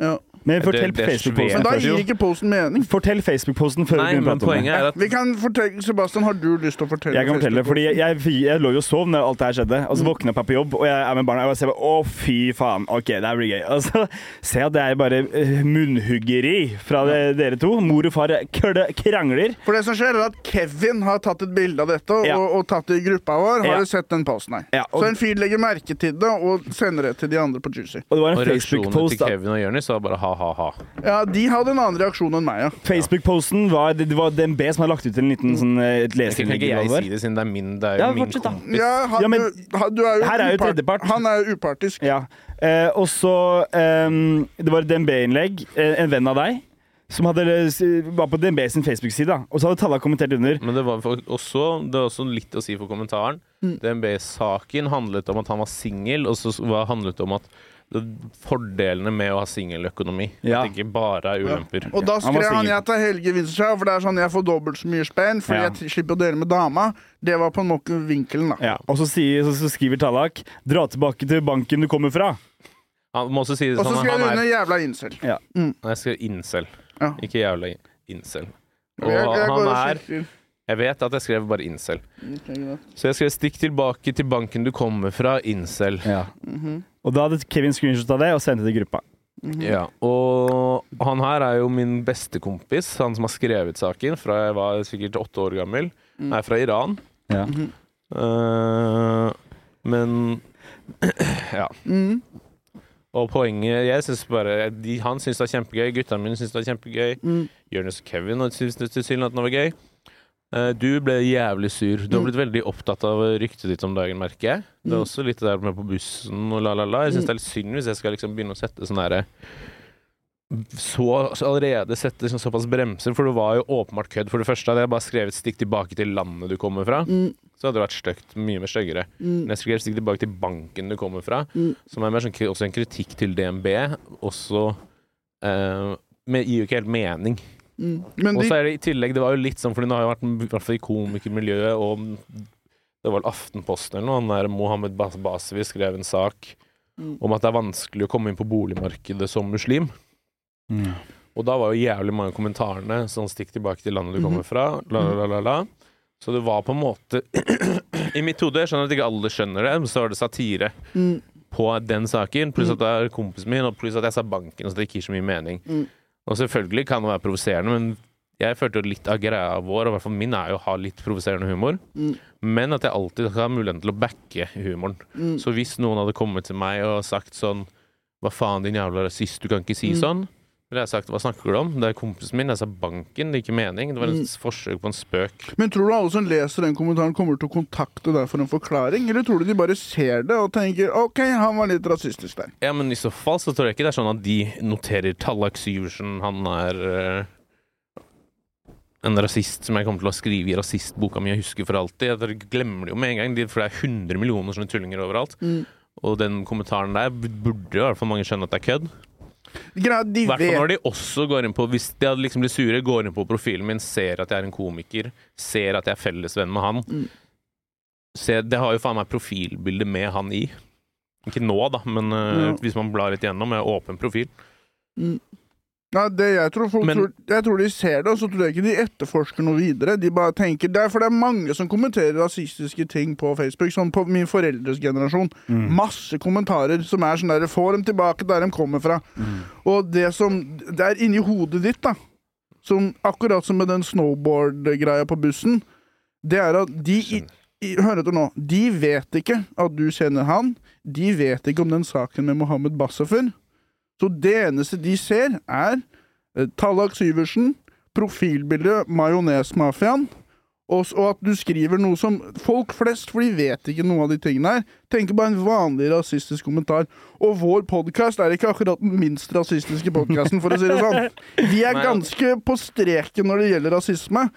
B: Ja.
A: Men fortell
C: Det- det er
B: Men
A: Facebook-posten
C: svært.
B: da
A: først.
B: gir ikke posten mening.
A: Fortell Facebook-posten før
C: Nei,
A: vi
C: men
A: begynner å prate om det.
C: poenget er at
B: Vi kan fortelle, Sebastian, har du lyst til å fortelle?
A: Jeg kan fortelle, fordi jeg, jeg, jeg lå jo og sov når alt det her skjedde. Og så
C: Mm.
A: våkna jeg opp på jobb, og jeg er med barna. Og jeg ser bare, å fy faen, ok, det her blir gøy. Og så (laughs) ser jeg at det er bare eh, munnhuggeri fra de- dere to. Mor og far køl- krangler.
B: For det som skjer, er at Kevin har tatt et bilde av dette
A: Ja.
B: og, og tatt det i gruppa vår. Har
A: Ja.
B: du sett den posten her?
A: Ja, og-
B: Så en fyr legger merke til det og sender det til de andre på Juicy.
A: Og det var
C: og
A: en
C: reaksjonene
A: Facebook-post.
C: til
A: da.
C: Kevin og Jonis var bare ha-ha-ha.
B: Ja, de hadde en annen reaksjon enn meg, ja.
A: Facebook-posten var, det var DNB som hadde lagt ut en liten sånn, eh, et
C: Mm. Jeg kan
A: leserinnlegg.
C: ikke
A: eller
C: jeg
A: hva det var.
C: si det, siden det er min, det er jo
A: Ja,
C: min
A: fortsett da.
C: kompis.
B: Ja, han,
A: Ja, men-
B: du, han, du er jo
A: Her er jo
B: upart-
A: tredjepart.
B: Han er jo upartisk.
A: Ja. Eh, og så ehm, Det var et DNB-innlegg. eh, En venn av deg som hadde, var på DNB sin Facebook-side. da. Og så hadde Talla kommentert under.
C: Men det var for- også, det var også litt å si for kommentaren.
B: Mm.
C: DNB-saken handlet om at han var singel, og så var- handlet det om at det- fordelene med å ha singeløkonomi.
A: Ja.
C: At det ikke bare er ulemper.
B: Og da
A: han var
B: skrev han
A: singel.
B: jeg til Helge Winterskjær, for det er sånn jeg får dobbelt så mye spenn fordi
A: Ja.
B: jeg t- slipper å dele med dama. Det var på en måte vinkelen, da.
A: Ja. Og så, sier, så, så skriver Tallak 'dra tilbake til banken du kommer fra'.
C: Han må også si det
B: Og
C: sånn
B: så
C: han
B: skrev hun
C: er
B: under 'jævla incel'.
C: Jeg skrev incel,
B: Ja.
C: ikke jævla incel. Og
B: Jeg- jeg går
C: han
B: og
C: er
B: sjekker.
C: Jeg vet at jeg skrev bare incel.
B: Ok, greit.
C: Så jeg skrev 'stikk tilbake til banken du kommer fra, incel'.
A: Ja. Og da hadde Kevin screenshota det og sendte det i gruppa.
B: Mhm.
C: Ja, og han her er jo min beste kompis, han som har skrevet saken fra jeg var sikkert åtte år gammel.
B: Mm.
C: Han er fra Iran.
A: Ja.
C: Eh, men ja.
B: Mm,
C: Og poenget jeg synes bare de, Han syns det er kjempegøy, gutta mine syns det er kjempegøy.
B: mm,
C: Jonis og Kevin syns tilsynelatende var gøy. Eh, du ble jævlig sur. Du har blitt veldig opptatt av ryktet ditt om dagen, merker jeg. Det er også litt det der med på bussen og la-la-la. Jeg syns det er litt synd hvis jeg skal liksom begynne å sette sånn derre så, så allerede sette liksom såpass bremser, for det var jo åpenbart kødd. For det første hadde jeg bare skrevet 'stikk tilbake til landet du kommer fra',
B: mm,
C: så hadde det vært stygt. Mye mer styggere. Men jeg skrev 'stikk tilbake til banken du kommer fra', som er mer sånn, kri- også en kritikk til DNB. Også eh, men gir jo ikke helt mening.
B: mm. Men
C: Og
B: de,
C: så er det i tillegg, det var jo litt sånn, fordi det har jo vært i hvert fall i komikermiljøet og det var vel Aftenposten eller noe, han der Mohammed Bas Basavi skrev en sak om at det er vanskelig å komme inn på boligmarkedet som muslim.
A: Mm.
C: Og da var jo jævlig mange av kommentarene sånn stikk tilbake til landet du kommer fra, la, la, la, la, la. Så det var på en måte (clears throat) I mitt hode, jeg skjønner at ikke alle skjønner det, men så var det satire
B: Mm.
C: på den saken, pluss at det er kompisen min, og pluss at jeg sa banken, så det ikke gir så mye mening.
B: Mm.
C: Og selvfølgelig kan det være provoserende, men jeg følte jo litt av greia vår, og i hvert fall min er jo å ha litt provoserende humor,
B: Mm.
C: men at jeg alltid skal ha muligheten til å backe humoren.
B: Mm.
C: Så hvis noen hadde kommet til meg og sagt sånn Hva faen, din jævla rasist, du kan ikke
B: Mm.
C: si sånn. Ville jeg sagt hva snakker du om? Det er kompisen min, jeg sa banken, det er ikke mening. Det var
B: Mm.
C: et forsøk på en spøk.
B: men tror du alle som leser den kommentaren, kommer til å kontakte deg for en forklaring? Eller tror du de bare ser det og tenker OK, han var litt rasistisk der.
C: Ja, men i så fall så tror jeg ikke det er sånn at de noterer Tallak Syversen, han er eh, en rasist som jeg kommer til å skrive i rasistboka mi og huske for alltid. Dere glemmer det jo med en gang, de- for det er 100 millioner sånne tullinger overalt. Og den kommentaren der burde jo i hvert fall mange skjønne at det er kødd.
B: Greia, de
C: I hvert fall
B: vet
C: når de også går inn på Hvis de hadde liksom blitt sure, går inn på profilen min, ser at jeg er en komiker, ser at jeg er fellesvenn med han.
B: Mm.
C: Se, det har jo faen meg profilbildet med han i. Ikke nå, da, men øh,
B: Ja.
C: hvis man blar litt gjennom, jeg har åpen profil.
B: Ja, det jeg tror folk
C: Men-
B: tror, Jeg tror de ser det, og så tror jeg ikke de etterforsker noe videre. De bare tenker Det er for det er mange som kommenterer rasistiske ting på Facebook. Sånn på min foreldres generasjon. Masse kommentarer som er sånn der Få dem tilbake der de kommer fra. Og det som Det er inni hodet ditt, da. Som, akkurat som med den snowboard-greia på bussen. Det er at de i, i, Hør etter nå. De vet ikke at du kjenner han. De vet ikke om den saken med Mohammed Bassafer. Så det eneste de ser, er eh, Tallak Syversen, profilbildet Majonesmafiaen, og, s- og at du skriver noe som folk flest, for de vet ikke noe av de tingene her, tenker på en vanlig rasistisk kommentar. Og vår podkast er ikke akkurat den minst rasistiske podkasten, for å si det sånn. Vi er
C: Nei, ja.
B: ganske på streken når det gjelder rasisme,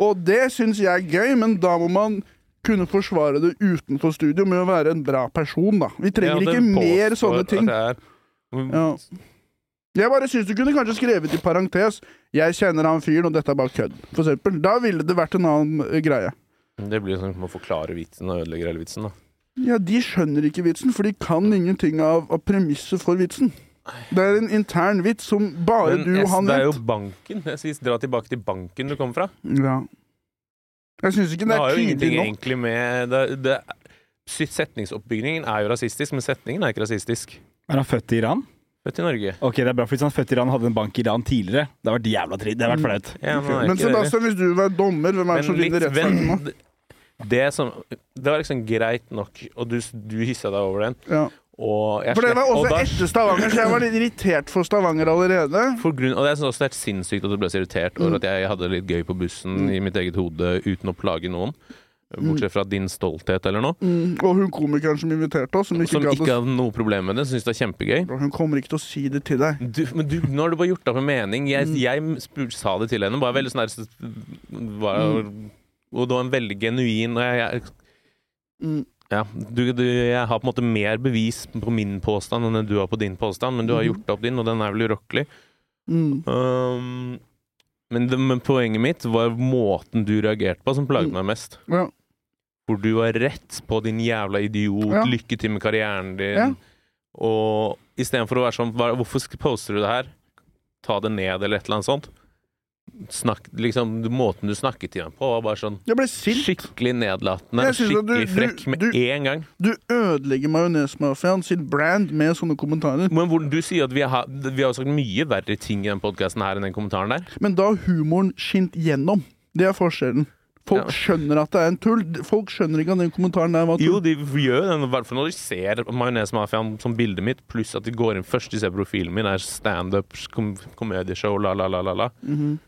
B: og det syns jeg er gøy, men da må man kunne forsvare det utenfor studio med å være en bra person, da. Vi trenger
C: Ja,
B: ikke
C: den
B: mer
C: påstår
B: sånne
C: at
B: ting.
C: jeg er- Mm,
B: Ja. Jeg bare syns du kunne kanskje skrevet i parentes 'Jeg kjenner han fyren, og dette er bare kødd', for eksempel. Da ville det vært en annen eh, greie.
C: Det blir jo sånn som å forklare vitsen og ødelegge hele vitsen, da.
B: Ja, de skjønner ikke vitsen, for de kan ingenting av, av premisset for vitsen. Det er en intern vits som bare
C: Men
B: du
C: jeg,
B: og han
C: det er jo
B: vet.
C: banken. Jeg sier dra tilbake til banken du kommer fra.
B: Ja. Jeg syns ikke
C: Det
B: det
C: har
B: er
C: jo ingenting
B: tydelig nok.
C: egentlig med det, det, Setningsoppbyggingen er jo rasistisk, men setningen er ikke rasistisk.
A: Er han født i Iran?
C: Født i Norge.
A: Ok, det er bra, for Hvis han er født i Iran, hadde en bank i Iran tidligere. Det har vært jævla trist. Det har vært flaut.
C: Ja, men han er
B: Men
C: ikke det.
B: Sebastian, hvis du var dommer, hvem er det
C: Men
B: som
C: litt
B: vinner rettssaken nå?
C: vent det, som, det var liksom greit nok, og du, du hissa deg over den.
B: Ja.
C: Og jeg
B: For det
C: slett-
B: var
C: og
B: også
C: da-
B: etter Stavanger, så jeg var litt irritert for Stavanger allerede.
C: for grunn, og jeg synes også det er helt sinnssykt at du ble så irritert
B: Mm.
C: over at jeg hadde det litt gøy på bussen i mitt eget hode uten å plage noen.
B: Mm.
C: Bortsett fra din stolthet eller noe.
B: Og hun komikeren som inviterte oss, som ikke
C: Som
B: gadd
C: ikke
B: å
C: hadde noe problem med det. Syns det er kjempegøy.
B: Hun kommer ikke til å si det til deg.
C: Du, men du, nå har du bare gjort deg opp en mening. Jeg,
B: Mm.
C: jeg spur, sa det til henne. Bare veldig sånn der- var, Og det var en veldig genuin og jeg, jeg,
B: Mm.
C: ja, du, du, jeg har på en måte mer bevis på min påstand enn det du har på din påstand, men du
B: Mhm.
C: har gjort opp din, og den er vel urokkelig.
B: Mm.
C: Um, men, det, men poenget mitt var måten du reagerte på, som plaget meg mest.
B: Mm. Ja.
C: Hvor du var rett på din jævla idiot,
B: Ja.
C: lykke til med karrieren din.
B: Ja.
C: Og istedenfor å være sånn hva, Hvorfor sk- poster du det her? Ta det ned, eller et eller annet sånt. snakk, liksom, måten du snakket til meg på, var bare sånn
B: Jeg ble sint.
C: skikkelig nedlatende
B: Jeg
C: og
B: synes at du-
C: skikkelig frekk
B: du-
C: med
B: du-
C: en gang.
B: Du ødelegger majonesmafiaen sin brand med sånne kommentarer.
C: Men hvor, du sier at vi har, vi har sagt mye verre ting i den podkasten her enn den kommentaren der.
B: Men da har humoren skint gjennom. Det er forskjellen. Folk
C: Ja.
B: skjønner at det er en tull. Folk skjønner ikke at den kommentaren der var tull.
C: Jo, de gjør det, i hvert fall når de ser Majonesmafiaen som bildet mitt, pluss at de går inn først de ser profilen min, er standup, kom komedieshow, la, la, la, la, la.
B: Mhm.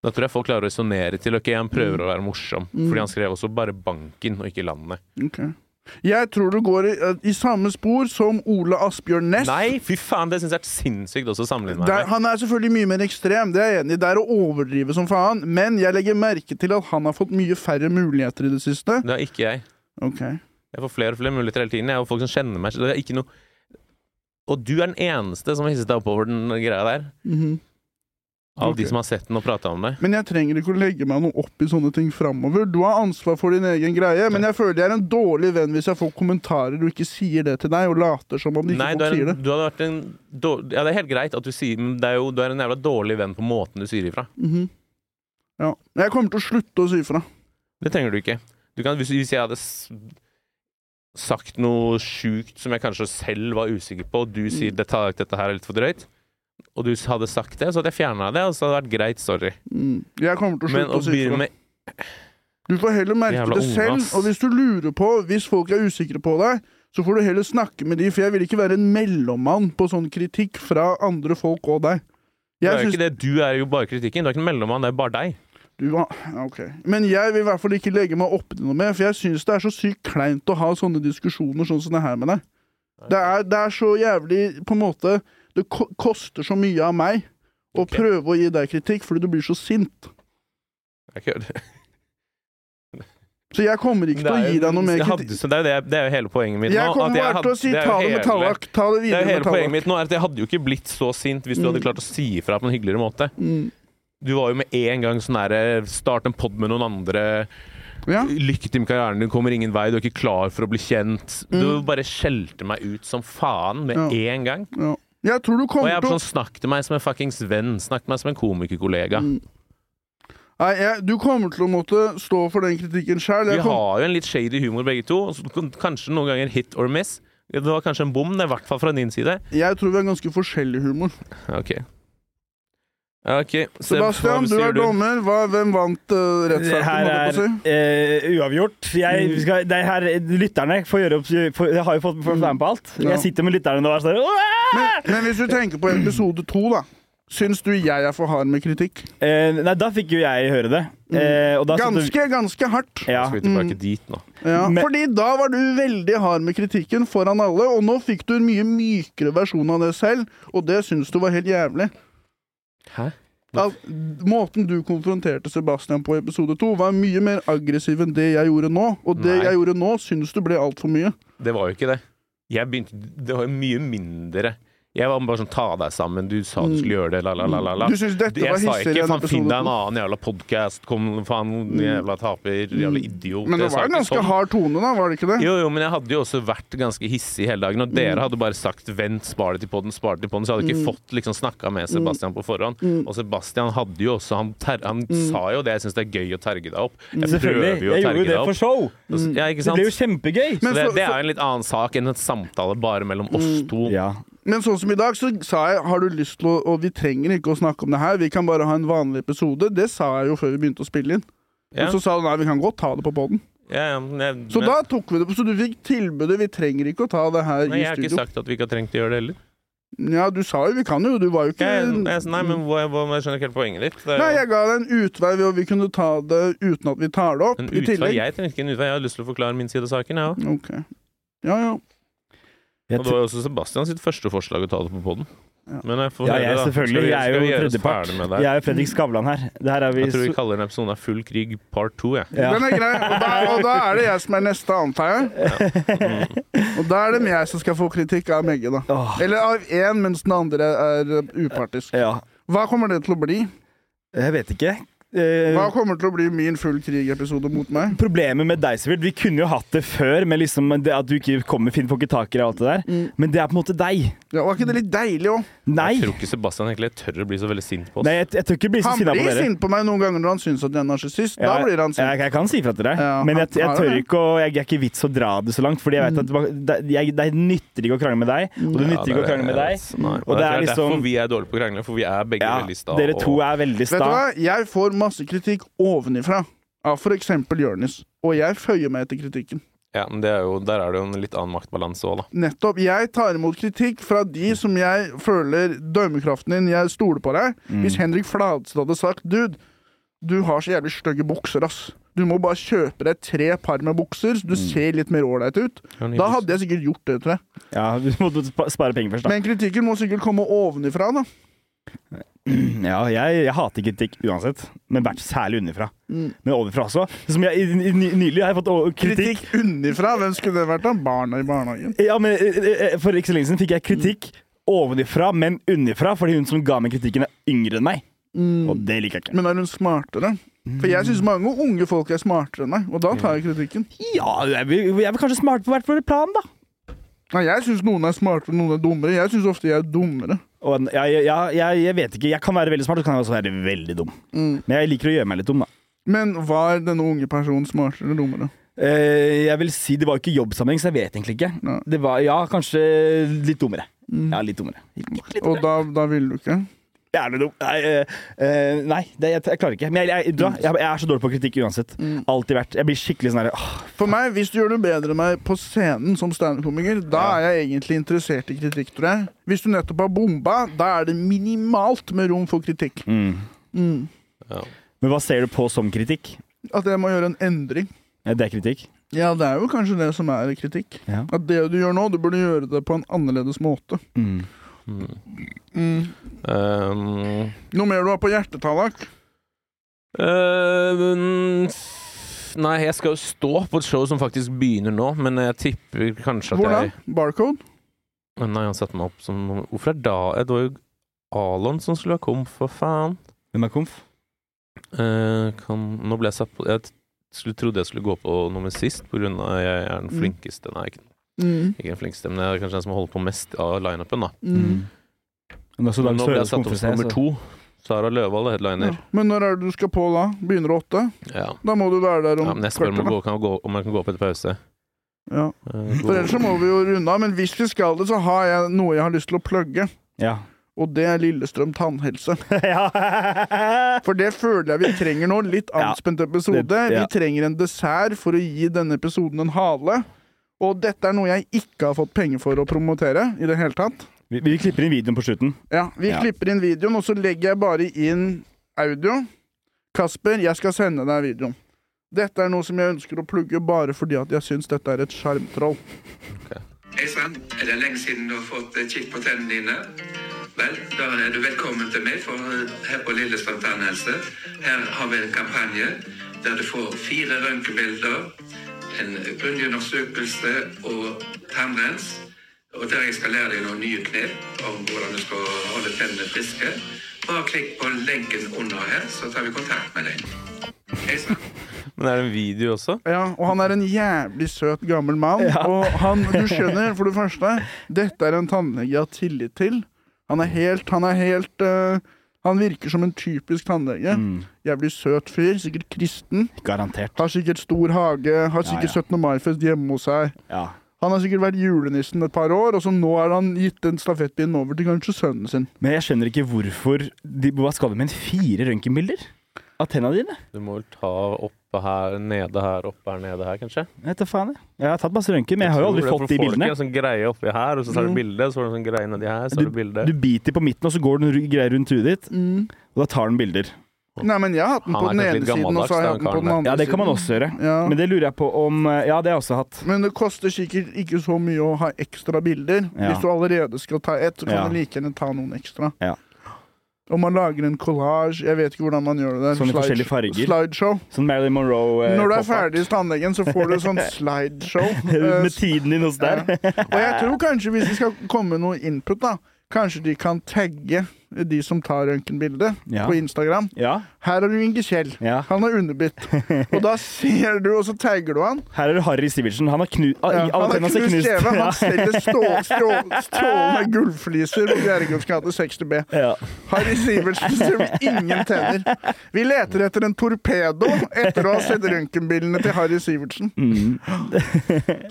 C: Da tror jeg folk klarer å resonnere til ok, han prøver å være morsom.
B: Mm.
C: Fordi han skrev også bare banken, og ikke landet.
B: Ok. Jeg tror du går i, eh, i samme spor som Ole Asbjørn Næss.
C: Nei, fy faen, det syns jeg er sinnssykt også å sammenligne
B: Der,
C: meg med.
B: han er selvfølgelig mye mer ekstrem, det er jeg enig i. Det er å overdrive som faen. Men jeg legger merke til at han har fått mye færre muligheter i det siste.
C: Det er ikke jeg.
B: Ok.
C: Jeg får flere og flere muligheter hele tiden. Jeg har folk som kjenner meg. Så det er ikke noe Og du er den eneste som har hisset deg opp over den greia der.
B: Mhm.
C: Av
B: Ok.
C: de som har sett den og prata om det.
B: Men jeg trenger ikke å legge meg noe opp i sånne ting framover. Du har ansvar for din egen greie, men jeg føler jeg er en dårlig venn hvis jeg får kommentarer og ikke sier det til deg, og later som om de ikke
C: Nei, du
B: folk
C: er,
B: sier det.
C: en, du hadde vært en dårlig, Ja, det er helt greit at du sier Men det er jo, du er en jævla dårlig venn på måten du sier ifra.
B: Mhm. Ja. Jeg kommer til å slutte å si ifra.
C: Det trenger du ikke. Du kan, hvis, hvis jeg hadde s- sagt noe sjukt som jeg kanskje selv var usikker på, og du sier
B: Mm.
C: det, tar- dette her er litt for drøyt, og du s- hadde sagt det, så hadde jeg fjerna det, og så hadde det vært greit, sorry.
B: Mm. Jeg kommer til å
C: Men
B: slutte
C: å
B: å si
C: begynne
B: ifra.
C: med
B: Du får heller merke
C: Jævla
B: det
C: unge,
B: selv,
C: ass.
B: og hvis du lurer på, hvis folk er usikre på deg, så får du heller snakke med de, for jeg vil ikke være en mellommann på sånn kritikk fra andre folk og deg.
C: det
B: Jeg
C: er jo
B: synes-
C: ikke det, Du er jo bare kritikken. Du er ikke en mellommann, det er bare deg.
B: Du har ja, OK. Men jeg vil i hvert fall ikke legge meg opp i noe mer, for jeg syns det er så sykt kleint å ha sånne diskusjoner sånn som det her med deg. Det er, det er så jævlig På en måte Det ko koster så mye av meg å
C: Ok.
B: prøve å gi deg kritikk fordi du blir så sint.
C: Det er ikke-
B: Så jeg kommer
C: (laughs)
B: ikke til å gi deg noe mer
C: Jeg hadde-
B: kritikk.
C: så det, er jo det, det er jo hele poenget mitt
B: Jeg
C: nå, at
B: kommer
C: jeg
B: bare til
C: hadde-
B: å si
C: det er jo
B: ta det med
C: hele-
B: tallak. Ta det
C: Det er
B: videre
C: jo
B: med
C: hele poenget
B: tallak.
C: mitt nå, er at jeg hadde jo ikke blitt så sint hvis du hadde
B: Mm.
C: klart å si ifra på en hyggeligere måte.
B: Mm.
C: Du var jo med en gang sånn derre Start en pod med noen andre.
B: Ja.
C: Lykke til med karrieren, du kommer ingen vei, du er ikke klar for å bli kjent. Du bare skjelte meg ut som faen med
B: Mm. Ja.
C: en gang.
B: ja. Jeg tror du
C: Og
B: kommer
C: jeg er
B: til å
C: sånn, snakk til meg som en fuckings venn, snakk til meg som en komikerkollega.
B: Mm. Nei, jeg, du kommer til å måtte stå for den kritikken sjæl.
C: Vi har jo en litt shady humor begge to, så kan- kanskje noen ganger hit or miss. Det var kanskje en bom, det, i hvert fall fra din side.
B: Jeg tror vi har ganske forskjellig humor.
C: Ok. Ok, Seb, hva
B: Sebastian, du
C: sier
B: er dommer. Hva, hvhvem vant uh, rettssaken?
A: Her
B: holdt
A: er
B: jeg på å si? Mm.
A: eh, uavgjort. Jeg, vi skal, det er her, lytterne får gjøre opp for, Jeg har jo fått fått være med på alt.
B: Ja.
A: Jeg sitter med lytterne nå og er sånn «Åh!»
B: Men, men hvis du tenker på episode to, da. Syns du jeg er for hard med kritikk?
A: Eh, Nei, da fikk jo jeg høre det. Eh, og da satt du-
B: Mm. Ganske, ganske hardt.
A: ja.
C: Skal vi
B: Mm.
C: tilbake dit nå?
B: Ja,
A: Men-
B: fordi da var du veldig hard med kritikken foran alle, og nå fikk du en mye mykere versjon av det selv, og det syns du var helt jævlig.
C: Hæ?
B: Al måten du konfronterte Sebastian på i episode to, var mye mer aggressiv enn det jeg gjorde nå, og det
C: Nei.
B: jeg gjorde nå, syns du ble altfor mye.
C: Det var jo ikke det. Jeg begynte, det var jo mye mindre. Jeg var bare sånn ta deg sammen, du sa
A: Mm.
C: du skulle gjøre det, la, la, la, la. la.
B: Du syns dette
C: Jeg
B: var
C: sa
B: hissigere
C: ikke
B: enn
C: faen, finn
B: episode
C: deg en
B: to.
C: annen jævla podkast, kom faen,
A: Mm.
C: jævla taper, jævla idiot.
B: Men det
C: Jeg sa
B: var en
C: ikke
B: ganske
C: sånn.
B: hard tone, da, var det ikke det?
C: Jo, jo, men jeg hadde jo også vært ganske hissig hele dagen.
A: Mm.
C: Og dere hadde bare sagt 'vent, spar det til podden, spar det til podden', så jeg hadde ikke fått liksom snakka
A: Mm.
C: med Sebastian på forhånd. Og Sebastian hadde jo også Han, ter han sa jo det, jeg syns det er gøy å terge deg opp. Jeg prøver
A: Mm. Selvfølgelig.
C: jo å
A: Jeg gjorde
C: terge
A: jo det
C: deg
A: for
C: opp.
A: show.
C: Ja, ikke
A: Det
C: sant?
A: ble jo kjempegøy.
B: Men
C: Så det,
B: så-
C: det
B: så- Mm.
C: er jo en litt annen sak enn en samtale bare mellom oss to.
A: Ja.
B: Men sånn som i dag, så sa jeg har du lyst til å Og vi trenger ikke å snakke om det her, vi kan bare ha en vanlig episode. Det sa jeg jo før vi begynte å spille inn.
C: Ja.
B: Og så sa du nei, vi kan godt ta det på poden.
C: Ja, ja, men jeg,
B: Så
C: men-
B: da tok vi det på. Så du fikk tilbudet. Vi trenger ikke å ta det her
C: Nei,
B: i
C: jeg har ikke
B: studio.
C: sagt at vi ikke har trengt å gjøre det heller.
B: Ja, du sa jo vi kan jo, du var jo ikke
C: Jeg, jeg, nei, men hva, hva, men jeg skjønner ikke helt poenget ditt. Det er jo
B: Nei, jeg ga deg en utvei ved at vi kunne ta det uten at vi tar det opp.
C: en
B: I
C: utvei.
B: tillegg.
C: Jeg trenger ikke en utvei. Jeg har lyst til å forklare min side av saken. Jeg, også.
B: Ok. Ja, ja.
A: Jeg
C: og det var jo også Sebastian sitt første forslag å ta det på podden
B: Ja.
C: Men jeg får
A: Ja,
C: høre,
A: jeg,
C: da.
A: selvfølgelig.
C: Skal vi-
A: Jeg er
C: skal vi
A: jo
C: gjøre oss
A: tredjepart.
C: ferdig med det her?
A: Jeg er jo Fredrik Skavlan her. Det her er vi
C: Jeg tror vi kaller den episoden her 'Full krig part 2'.
A: (laughs)
C: Jeg.
A: Ja.
B: Den er grei. Og da, og da er det jeg som er neste, antar jeg.
C: Mm.
B: Og da er det jeg som skal få kritikk av Megge, da.
A: Åh,
B: Eller av én, mens den andre er uh, upartisk.
A: ja.
B: Hva kommer det til å bli?
A: Jeg vet ikke. eh,
B: Hva kommer til å bli min full krig-episode mot meg?
A: Problemet med deg, Sivert Vi kunne jo hatt det før, med liksom det at du ikke kommer, Finn får ikke tak i deg og alt det der.
B: Mm.
A: Men det er på en måte deg.
B: Ja, var ikke det litt deilig òg?
A: Nei.
C: Jeg tror ikke Sebastian egentlig tør å bli så veldig sint på oss.
A: Nei, jeg, jeg tør ikke bli så
B: Han
A: sinna på
B: blir
A: dere.
B: sint på meg noen ganger når han syns at jeg er narsissist. Da
A: Ja,
B: blir han
A: Jeg,
B: sint.
A: jeg kan si ifra til deg,
B: Ja,
A: men jeg,
B: han
A: jeg
B: har
A: tør
B: det. Mm.
A: ikke å Jeg er ikke vits å dra det så langt, Fordi jeg vet at det, jeg, det nytter ikke å krangle med deg, og det nytter ikke å krangle med deg.
C: Nei,
A: Og det er
C: derfor
A: liksom
C: vi er dårlige på å krangle, for vi er begge
A: ja,
C: veldig sta.
A: Dere to
C: og-
A: er veldig
B: Vet du
A: sta.
B: hva? Jeg får masse kritikk ovenifra av f.eks. Jonis, og jeg føyer meg etter kritikken.
C: ja, men det er jo, der er det jo en litt annen maktbalanse òg, da.
B: Nettopp. Jeg tar imot kritikk fra de som jeg føler dømmekraften din, jeg stoler på
A: Mm.
B: deg. Hvis Henrik Fladstad hadde sagt Dude, du har så jævlig stygge bukser, ass. Du må bare kjøpe deg tre par med bukser, så du
A: Mm.
B: ser litt mer ålreit ut. Da hadde jeg sikkert gjort det, tror jeg.
A: Ja, (laughs) Du må spa- spare penger først, da.
B: Men kritikken må sikkert komme ovenifra, da.
A: (clears throat) Ja, jeg, jeg hater kritikk uansett, men vært særlig underfra. Men overfra også. Som jeg, i- i- nylig har jeg fått å- kritikk
B: Mm. Kritikk unnifra? Hvem skulle det vært, da? Barna i barnehagen.
A: Ja, men eh, eh, For ikke så lenge siden fikk jeg kritikk ovenifra, men underfra, fordi hun som ga meg kritikken, er yngre enn meg. Og det liker jeg ikke.
B: Men er hun smartere? For jeg syns mange unge folk er smartere enn meg, og da tar jeg kritikken.
A: Ja, jeg vil, jeg vil kanskje smart på hvert vårt plan, da.
B: Nei, jeg syns noen er smartere, noen er dummere. Jeg syns ofte jeg er dummere.
A: Og en- jeg, jeg, jeg, jeg, jeg vet ikke. Jeg kan være veldig smart, og så kan jeg også være veldig dum.
B: Mm.
A: Men jeg liker å gjøre meg litt dum, da.
B: Men var denne unge personen smartere eller dummere?
A: Eh, jeg vil si Det var ikke jobbsammenheng, så jeg vet egentlig ikke.
B: Nei.
A: Det var, ja, kanskje litt dummere. Ja, litt dummere.
B: Og da, da ville du ikke?
A: Gjerne dum. Nei, eh, eh, nei det, jeg, jeg klarer ikke. Men jeg, jeg, da, jeg, jeg er så dårlig på kritikk uansett. Alltid vært. Jeg blir skikkelig sånn herre
B: For meg, Hvis du gjør det bedre enn meg på scenen som standup-komiker, da er jeg egentlig interessert i kritikk, tror jeg. Hvis du nettopp har bomba, da er det minimalt med rom for kritikk.
A: mm.
B: Mm.
C: Ja.
A: Men hva ser du på som kritikk?
B: At jeg må gjøre en endring.
A: Ja, Det er kritikk.
B: Ja, det er jo kanskje det som er kritikk.
A: Ja.
B: At det du gjør nå, du burde gjøre det på en annerledes måte.
A: Mm.
C: Um,
B: Mm. Noe mer du har på hjertet, Tallak?
C: Eh, men f- Nei, jeg skal jo stå på et show som faktisk begynner nå, men jeg tipper kanskje at
B: Hvor da?
C: jeg
B: Barcode?
C: Nei, han satte meg opp som Hvorfor er da Det var jo Alon som skulle ha kommet, for faen.
A: Hvem er komf?
C: Eh, kan, nå ble jeg satt på Jeg t- skulle, trodde jeg skulle gå på nummer sist, på grunn av jeg er den
B: Mm.
C: flinkeste Nei, ikke,
B: Mm.
C: ikke den flinkeste, men jeg er kanskje den som holder på mest av lineupen, da.
B: Mm.
A: Men også
C: Men
A: Dag
C: nå ble jeg
A: Sørås
C: satt opp
A: komf.
C: som nummer to. Sara Løvahl
B: Ja.
C: er headliner.
B: Men når er det du skal på da? Begynner åtte?
C: Ja.
B: Da må du være der
C: ja.
B: om
C: Men jeg spør
B: kvarter,
C: om, jeg
B: da.
C: går- kan jeg gå, om jeg kan gå opp etter pause.
B: Ja.
C: Eh, gå-
B: Mm. For ellers så må vi jo runde av, men hvis vi skal det, så har jeg noe jeg har lyst til å plugge.
A: Ja. (laughs)
B: Og det er Lillestrøm tannhelse.
A: ja.
B: For det føler jeg vi trenger nå. Litt
A: Ja.
B: anspent episode.
A: Det- ja.
B: Vi trenger en dessert for å gi denne episoden en hale. Og dette er noe jeg ikke har fått penger for å promotere i det hele tatt.
A: Vi, vi klipper inn videoen på slutten.
B: Ja, Vi
A: Ja.
B: klipper inn videoen, og så legger jeg bare inn audio. Kasper, jeg skal sende deg videoen. Dette er noe som jeg ønsker å plugge bare fordi at jeg syns dette er et sjarmtroll.
D: Hei sann, er det lenge siden du har fått eh, kikk på tennene dine? Vel, da er du velkommen til meg, for eh, her på Lillestrøm tannhelse her har vi en kampanje der du får fire røntgenbilder, en grunnundersøkelse og tannrens. Og der jeg skal lære deg noen nye knep om hvordan du skal holde tennene friske. Bare klikk på lenken under her, så tar vi kontakt med deg. Hei sann.
C: Men er det en video også?
B: Ja, og han er en jævlig søt gammel mann. Og han, du skjønner, for det første, dette er en tannlege jeg har tillit til. Han er helt Han er helt eh, Han virker som en typisk tannlege.
A: Mm.
B: Jævlig søt fyr. Sikkert kristen.
A: Garantert.
B: Har sikkert stor hage. Har sikkert
A: ja.
B: 17. mai-fest hjemme hos seg.
A: Ja.
B: Han har sikkert vært julenissen et par år, og så nå har han gitt den stafettpinnen over til kanskje sønnen sin.
A: Men jeg skjønner ikke hvorfor de, Hva skal du med en fire røntgenbilder av tenna dine?
C: Du må vel ta oppe her, nede her, oppe her, nede her, kanskje?
A: Jeg vet da faen, jeg. Jeg har tatt masse røntgen, men jeg har jo aldri
C: tror det, for
A: fått de
C: folk
A: bildene. Mm.
C: er En sånn greie oppi her, og så tar du bilde, og så har du en sånn greie nedi her, så tar du bilde.
A: Du biter på midten, og så går den ru- greia rundt huet ditt,
C: Mm.
A: og da tar den bilder.
B: Nei, men jeg har hatt den
C: Han
B: på
C: er
B: den
C: kanskje
B: ene
C: litt
B: siden, og så har jeg hatt den
C: gammeldags,
B: på den
C: da,
B: andre
A: Ja, det kan man
B: siden.
A: også gjøre.
B: Ja.
A: Men det lurer jeg på om eh, Ja, det har jeg også hatt.
B: Men det koster sikkert ikke så mye å ha ekstra bilder.
A: Ja.
B: Hvis du allerede skal ta ett, så kan
A: Ja.
B: du like gjerne ta noen ekstra.
A: Ja.
B: Og man lager en collage. Jeg vet ikke hvordan man gjør det. der.
A: Sånne
B: Slide-
A: forskjellige farger.
B: Slideshow.
A: Sånn Marilyn Monroe eh,
B: Når du er
A: pop-art.
B: ferdig hos tannlegen, så får du et
A: (laughs)
B: sånt slideshow. Eh,
A: Med tiden din hos der.
B: og jeg tror kanskje hvis det skal komme noe input, da Kanskje de kan tagge de som tar røntgenbilde
A: Ja.
B: på Instagram.
A: Ja.
B: Her har du Inge Kjell.
A: Ja.
B: Han er underbitt. Og da ser du, og så tagger du han.
A: Her er det Harry Sivertsen. Han har knu...
B: Ja,
A: Ja,
B: han har knust kjeven. Han
A: knust.
B: selger stå- stå- strålende gullfliser på Bjerregulls gate 60B.
A: (laughs) Ja.
B: Harry Sivertsen som ingen tjener. Vi leter etter en torpedo etter å ha sett røntgenbildene til Harry Sivertsen.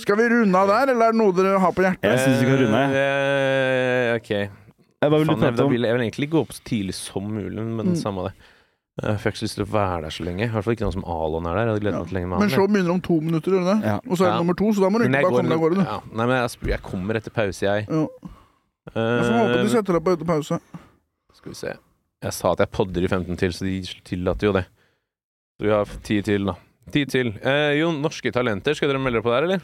B: Skal vi runde av der, eller er det noe dere har på hjertet?
A: Jeg syns vi kan runde. jeg.
C: Eh, ok.
A: Hva vil du
C: Faen, jeg,
A: prate
C: da
A: om? Mm.
C: vil jeg vil egentlig gå opp så tidlig som mulig, men samme det. Eh, for Jeg har ikke så lyst til å være der så lenge. I hvert fall ikke noen som Alon er der. Jeg hadde gledet meg til lenge med
B: Men
C: han. jeg.
B: showet begynner om to minutter, gjør det det?
A: Ja.
B: Og så er det
C: Ja.
B: nummer to, så da må du
C: Men
B: ikke
C: jeg
B: bare
C: går
B: komme deg av gårde, du.
C: Ja, nei, men jeg, jeg kommer etter pause, jeg.
B: Ja. Jeg får
C: Eh,
B: håpe de setter deg på etter pause.
C: Skal vi se. Jeg sa at jeg podder i 15 til, så de tillater jo det. Så vi har ti til, da. Ti til. Eh, jo, Norske Talenter, skal dere melde dere på der, eller?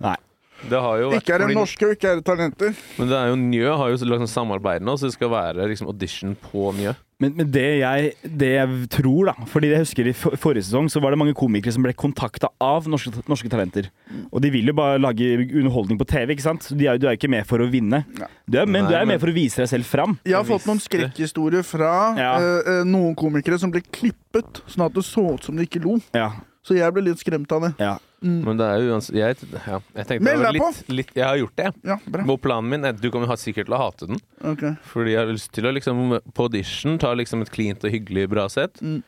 A: Nei.
C: Det har jo vært,
B: Ikke er det
C: fordi-
B: norske, og ikke er det talenter.
C: Men det er jo Njø har jo lagt sånn samarbeid nå, så det skal være liksom audition på Njø.
A: Men, men det, jeg, det jeg tror, da Fordi jeg husker i for, forrige sesong så var det mange komikere som ble kontakta av norske, norske talenter. Og de vil jo bare lage underholdning på TV, ikke sant? Så de er, du er jo ikke med for å vinne.
B: Nei.
A: Du er, men
C: Nei,
A: du er
C: men-
A: med for å vise deg selv fram.
B: Jeg har fått noen skrekkhistorier fra
A: Ja.
B: eh, eh, noen komikere som ble klippet sånn at det så ut som de ikke lo.
A: Ja.
B: Så jeg ble litt skremt av det.
A: ja.
C: Men det er jo uansett jeg, ja, jeg tenkte
B: Meld
C: det var
B: deg
C: litt, litt Jeg har gjort det, jeg.
B: Ja, bra.
C: Og planen min er Du kommer ha- sikkert til å hate den.
B: Ok.
C: Fordi jeg har lyst til å liksom på audition ta liksom et cleant og hyggelig bra sett.
B: Mm.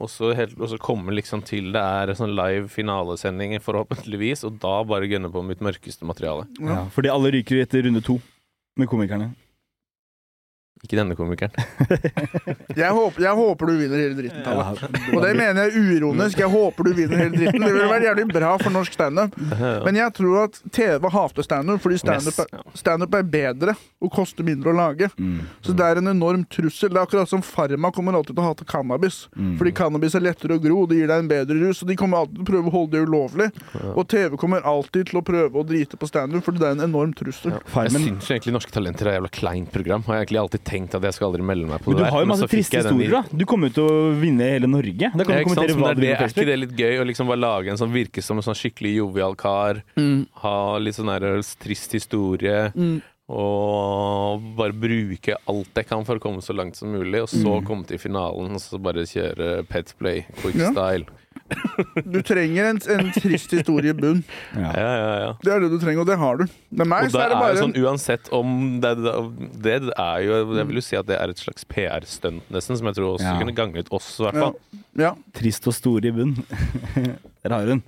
C: Og, så helt, og så komme liksom til det er en sånn live finalesending, forhåpentligvis, og da bare gønne på mitt mørkeste materiale.
A: ja. Fordi alle ryker etter runde to med komikerne. (laughs)
C: Ikke denne komikeren.
B: Jeg håper, jeg håper du vinner hele dritten, Talla.
A: Ja.
B: Og det mener jeg uironisk. Jeg håper du vinner hele dritten. Det ville vært jævlig bra for norsk standup.
A: Mm.
C: (laughs)
B: Men jeg tror at TV hater standup fordi standup er,
C: Ja.
B: standup er bedre og koster mindre å lage.
A: Mm.
B: Så det er en enorm trussel. Det er akkurat som Pharma kommer alltid til å hate cannabis. Fordi cannabis er lettere å gro, det gir deg en bedre rus, og de kommer alltid til å prøve å holde det ulovlig. Og TV kommer alltid til å prøve å drite på standup, fordi det er en enorm trussel.
C: Jeg
A: Farmen.
C: syns jo egentlig Norske Talenter er et jævla kleint program. Har jeg egentlig alltid tenkt at jeg skal aldri melde meg på
A: Men du
C: det der.
A: har jo
C: men
A: masse
C: så fikk
A: triste
C: jeg den i-
A: historier, da. Du kommer jo til å vinne hele Norge. Da kan
C: Ja,
A: du
C: ikke sant?
A: kommentere hva
C: Men det
A: du vil på
C: er, det, er ikke
A: Facebook.
C: det litt gøy å liksom bare lage en som virker som en sånn skikkelig jovial kar?
B: Mm.
C: Ha litt sånn der trist historie. Og bare bruke alt jeg kan for å komme så langt som mulig, og så
B: Mm.
C: komme til finalen og så bare kjøre Pet Play,
B: Ja.
C: Quickstyle.
B: Du trenger en, en trist historie i bunn.
C: Ja. Ja, ja, ja.
B: Det er det du trenger, og det har du. Med meg
C: Og
B: så
C: det
B: er det
C: er jo
B: bare
C: sånn uansett om det, det det er jo Jeg vil jo si at det er et slags PR-stunt, nesten, som jeg tror også
A: Ja.
C: kunne gagnet oss, i hvert
B: ja. (laughs)
C: fall.
B: ja.
A: Trist og stor i bunn. (laughs) Der har hun.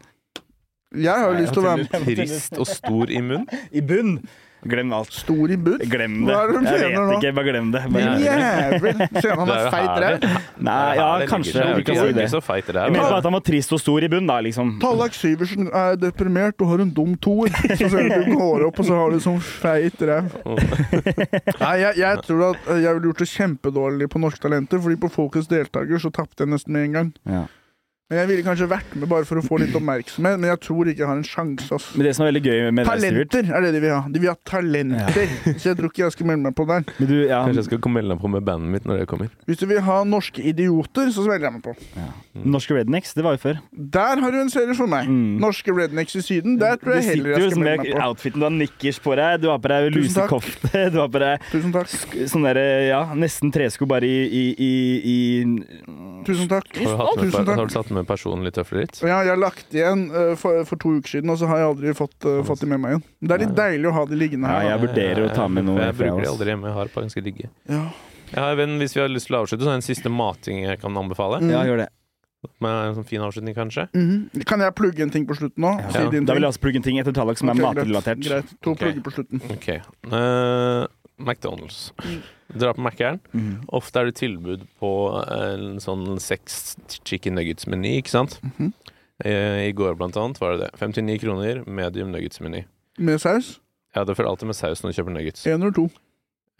B: Jeg har jo lyst til å være med.
C: Trist og stor i munn.
A: I bunn! Glem alt.
B: Stor i bunn.
A: Glem det.
B: Hva er det du
A: Jeg vet
B: mener nå?
A: ikke, bare glem det.
B: Din
A: Bare,
B: jævel! Ser han
C: Det
B: er
C: jo
B: feit
C: her det-
B: ræv.
A: Nei, ja,
C: det ligger
A: kanskje.
C: seg.
A: Vi kan
C: Jeg er
A: si
C: ikke
A: det.
C: så feit det
A: Jeg
C: er.
A: mener bare at han var trist og stor i bunn, da, liksom.
B: Tallak Syversen er deprimert og har en dum toer. Så ser du du går opp, og så har du sånn feit ræv. Nei, jeg, jeg tror at eh, jeg ville gjort det kjempedårlig på Norske Talenter, fordi på Folkets deltaker så tapte jeg nesten med en gang.
A: Ja.
B: Men jeg ville kanskje vært med bare for å få litt oppmerksomhet, men jeg tror ikke jeg har en sjanse, ass.
A: Men det som er veldig gøy med deg, Sivert
B: Talenter er det de vil ha. De vil ha talenter. Så jeg tror ikke jeg skal melde meg på der.
A: men du, ja,
C: Kanskje jeg skal komme- melde meg på med bandet mitt når det kommer.
B: Hvis du vil ha norske idioter, så melder jeg meg på.
A: Norske Rednecks, det var jo før.
B: Der har du en serie for meg. Norske rednecks i Syden. Der
A: Du
B: tror jeg
A: Mm. sitter
B: heller
A: jo
B: jeg skal
A: liksom
B: melde
A: med
B: meg på.
A: outfiten du har nikkers på deg, du har på deg
B: Tusen takk.
A: lusekofte, du har på deg
B: Tusen takk.
A: sk- sånn derre, ja, nesten tresko bare i, i, i, i
B: Tusen takk.
C: Har du, hatt med,
B: Tusen
C: har du
B: takk.
C: satt med personlig tøfler ditt?
B: Ja, jeg har lagt igjen eh, for, for to uker siden, og så har jeg aldri fått, eh, fått de med meg igjen. Det er litt deilig å ha de liggende
A: Ja,
B: her. da.
A: jeg vurderer å ta med noe.
C: Jeg
A: fra
C: bruker det
A: oss.
C: aldri hjemme. Jeg har et par ganske digge.
B: Ja.
C: Jeg har en venn, Hvis vi har lyst til å avslutte, så er det en siste mating jeg kan anbefale.
B: Mm.
A: Ja, gjør det.
C: Med en sånn fin avslutning, kanskje.
B: Mhm. Kan jeg plugge en ting på slutten nå? Si
A: Ja.
B: din
A: Da vil
B: ting.
A: jeg også plugge en ting etter Tallak som er
B: Ok,
A: matrelatert.
B: Greit. greit. To
C: Ok.
B: plugger på slutten.
C: Ok. Eh, McDonald's. Dra på Mac-eren.
A: Mhm.
C: Ofte er det tilbud på en sånn seks chicken nuggets-meny, ikke sant?
B: Mm-hmm.
C: Eh, I går, blant annet, var det det. 59 kroner, medium nuggets-meny.
B: Med saus?
C: Ja, det følger alltid med saus når du kjøper nuggets.
B: Én eller to?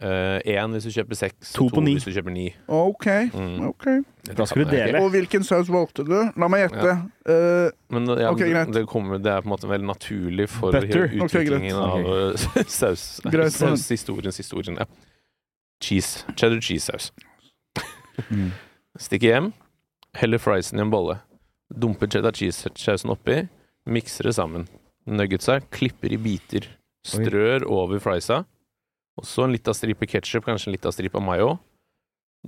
C: Én hvis du kjøper seks,
A: To
C: to,
A: på ni.
C: hvis du kjøper ni.
B: OK.
C: Mm.
B: ok.
A: Da skal du dele.
B: Og hvilken saus valgte du? La meg gjette. Eh,
C: Men ja,
B: Ok, greit.
C: det, kommer, det er på en måte veldig naturlig for
A: Butter.
C: hele
B: Ok,
C: utviklingen
A: greit.
C: av eh, (laughs) saus.
B: Greit.
C: Saushistoriens historien. Ja. Cheese. Cheddar cheese-saus.
A: Mm.
C: Stikke hjem, heller friesen i en bolle. Dumper cheddar cheese-sausen oppi, mikser det sammen. Nuggetsa klipper i biter. Strør over friesa. Og så en lita stripe ketsjup, kanskje en lita stripe mayo.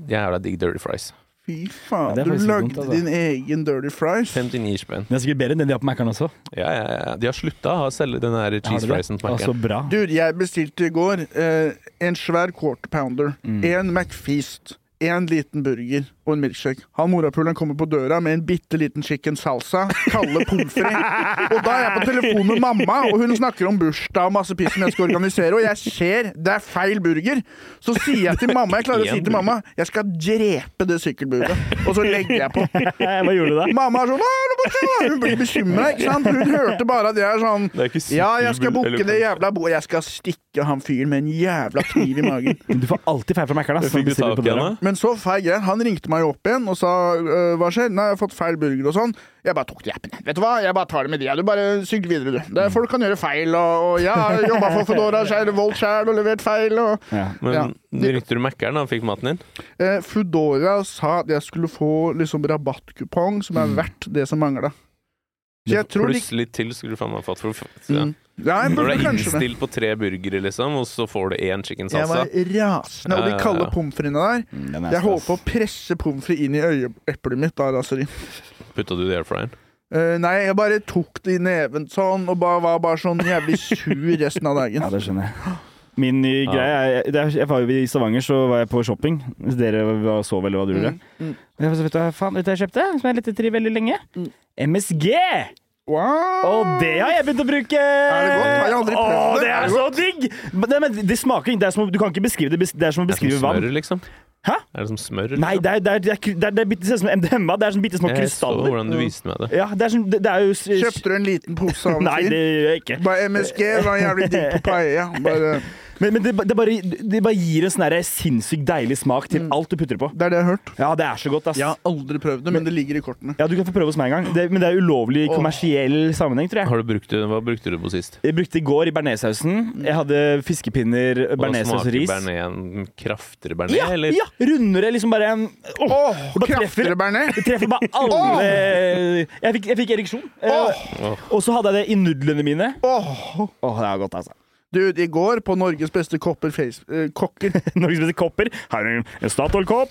C: Jævla digg dirty fries.
B: Fy
A: Ja,
B: faen,
A: det er
B: du
A: faktisk
B: lagde
A: litt vondt, altså.
B: din egen dirty fries.
C: 59 spenn.
A: Den er sikkert bedre enn den de har på Mækkern også.
C: Ja, ja, ja. De har slutta å selge den her
A: Har
C: cheese
A: dere det?
C: friesen
A: Å,
C: på
A: Så
B: Altså,
C: Mac-en.
A: bra. (laughs)
B: Dude, jeg bestilte i går eh, en svær quarter pounder, en McFeast, en liten burger og en milkshake. Han morapuleren kommer på døra med en bitte liten chicken salsa, kalde pommes frites. Og da er jeg på telefon med mamma, og hun snakker om bursdag og masse piss som jeg skal organisere, og jeg ser det er feil burger. Så sier jeg til mamma, jeg klarer å si til mamma, jeg skal drepe det sykkelburet. Og så legger jeg på.
A: Hva gjorde du da?
B: Mamma er sånn «Hva er det borte?» Hun blir bekymra, ikke sant? Hun hørte bare at jeg er sånn
C: Det er ikke liksom."
B: Ja, jeg skal
C: sykkelbull,
B: bukke
C: eller-
B: det jævla bordet. Jeg skal stikke han fyren med en jævla kniv i magen.
A: Du får alltid feil fra Mækkern. ass, når
C: Fikk du
A: bestiller
C: tak
A: på
C: i
A: døra.
C: henne?
B: Men så feil greie. Han ringte meg opp igjen og sa «Øh, hva skjer? Nei, jeg har fått feil burger og sånn. Jeg bare tok det i appen. jeg. Vet du hva, jeg bare tar det med de. Du bare sykler videre, du. Det er, folk kan gjøre feil, og, og jeg har jobba for Foodora sjæl, Volt sjæl og levert feil, og
A: Ja.
C: Men
B: Ja.
C: rykter du Mac-eren da han fikk maten din?
B: eh, Foodora sa at jeg skulle få liksom rabattkupong som er verdt det som mangla. Så jeg tror de
C: Plutselig til skulle Mm. du faen meg fått for ja.
B: Mm. Ja, jeg
C: Når
B: burde
C: du er
B: kanskje det.
C: innstilt på tre burgere, liksom, og så får du én chicken
B: Jeg
C: salsa.
B: var rasende. Og
C: Ja,
B: de
C: ja,
B: kalde
C: ja.
B: pommes fritesene der
A: Mm, den er
B: Jeg
A: stas.
B: håper å presse pommes frites inn i øyeeplet mitt. da, raseri.
C: Putta du det i airfryeren?
B: Eh, nei, jeg bare tok det i neven sånn, og bare, var bare sånn jævlig sur resten av (laughs) dagen.
A: Ja, det skjønner jeg. Min nye
C: Ja.
A: greie er jeg, det er- jeg var jo I Stavanger så var jeg på shopping. Dere var, så vel hva
B: Mm,
A: du gjorde. Jeg var så, Vet du hva faen vet du hva jeg kjøpte, som jeg lette etter i veldig lenge?
B: Mm.
A: MSG!
B: Wow!
A: Og det har jeg begynt å bruke! Er
B: Ah! det godt? Har jeg aldri prøvd
A: Åh, det
B: det. Er
A: er
B: det
A: så digg! Men det, men det smaker ikke det er som, å- Du kan ikke beskrive det. Det er som å
C: Er det
A: beskrive
C: som smør,
A: vann.
C: liksom?
A: Hæ?
C: Er det som smør? Liksom?
A: Nei, det er, det er, det er, det er, det er, bitte- det ser ut som MDMA. Det er sånn bitte små
C: jeg så
A: krystaller.
C: hvordan du viste meg det.
A: Ja, det er, sånn, det, det er jo
B: Kjøpte du en liten pose (laughs) av en
A: Nei, det
B: fyr?
A: gjør jeg ikke.
B: Bare MSG var jævlig digg på paella. Bare,
A: Men, men det, ba- det, bare, det bare gir en sånn derre sinnssykt deilig smak til alt du putter på.
B: det er det jeg har hørt.
A: Mm. Ja, det er så godt, ass.
B: Jeg har aldri prøvd det, men det ligger i kortene.
A: Ja, Du kan få prøve hos meg en gang, det, men det er ulovlig i
B: Åh.
A: kommersiell sammenheng, tror jeg.
C: Har du brukt det? Hva brukte du på sist?
A: Jeg brukte i går i bearnéssausen. Jeg hadde fiskepinner,
C: Og da
A: bearnéssaus og
C: smaker
A: ris.
C: bearnés kraftigere bearnés,
A: Ja,
C: eller?
A: ja, rundere liksom bare en Åh,
B: Åh,
A: det bare treffer.
B: kraftigere bearnés!
A: Det treffer bare alle Jeg fikk, jeg fikk ereksjon. Eh, Og så hadde jeg det i nudlene mine.
B: Åh!
A: Åh, det er godt, altså.
B: Dude, i går på Norges beste kopper face, eh, (laughs) kokker
A: (laughs) Norges beste kopper. Her er en- en Statoil-kopp.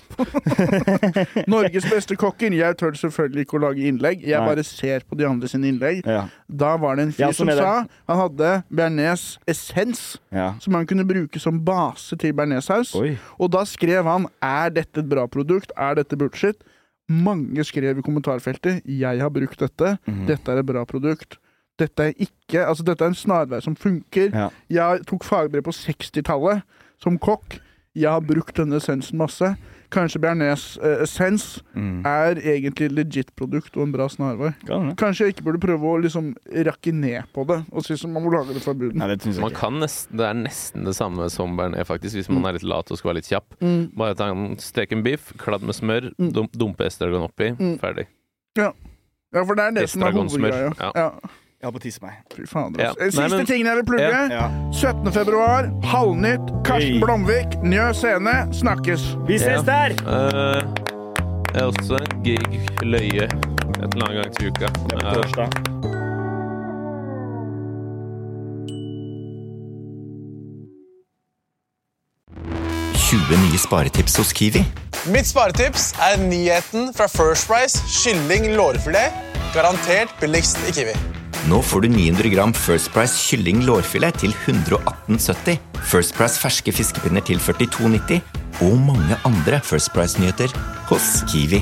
B: Norges beste kokker. Jeg tør selvfølgelig ikke å lage innlegg. Jeg
A: Nei.
B: bare ser på de andre sine innlegg.
A: Ja,
B: Da var det en fyr
A: Ja,
B: som
A: sånn er
B: sa han hadde bearnés essens,
A: ja.
B: som han kunne bruke som base til bearnéssaus.
A: Oi.
B: Og da skrev han 'Er dette et bra produkt? Er dette bullshit?' Mange skrev i kommentarfeltet 'Jeg har brukt dette.
A: Mhm.
B: Dette er et bra produkt'. Dette er ikke, altså dette er en snarvei som funker.
A: Ja.
B: Jeg tok fagbrev på 60-tallet som kokk. Jeg har brukt denne essensen masse. Kanskje bearnés eh, essens
A: Mm.
B: er egentlig et legit produkt og en bra snarvei.
A: Kan det.
B: Kanskje jeg ikke burde prøve å liksom rakke ned på det og si som man må lage det fra bunnen.
A: Nei, det syns jeg
C: Man
A: ikke.
C: kan nesten, det er nesten det samme som bearnés, faktisk, hvis man
A: Mm.
C: er litt lat og skal være litt kjapp. Bare ta en stek en biff, kladd med smør,
A: Mm.
C: dum, dumpe estragon oppi, ferdig.
B: Ja, for det er det som er
C: Estragonsmør,
B: hovedgreia.
C: ja.
B: Ja,
A: Jeg holdt på å tisse meg.
B: fy fader.
C: Ja.
B: altså. Eh,
C: Nei,
B: Siste
C: men-
B: tingen jeg vil plugge.
C: Ja.
A: Ja.
B: 17. februar, Halvnytt, Karsten
A: Hey.
B: Blomvik, Njø scene, snakkes.
A: Vi ses
C: Ja.
A: der!
C: Eh, jeg er også gig løye et eller annet gang til uka.
A: Det er
C: Eh,
A: på torsdag.
E: nye sparetips hos Kiwi.
F: Mitt sparetips er nyheten fra First Price kylling lårfilet. Garantert billigst i Kiwi.
E: Nå får du 900 gram First Price kylling lårfilet til 118,70. First Price ferske fiskepinner til 42,90. Og mange andre First Price-nyheter hos Kiwi.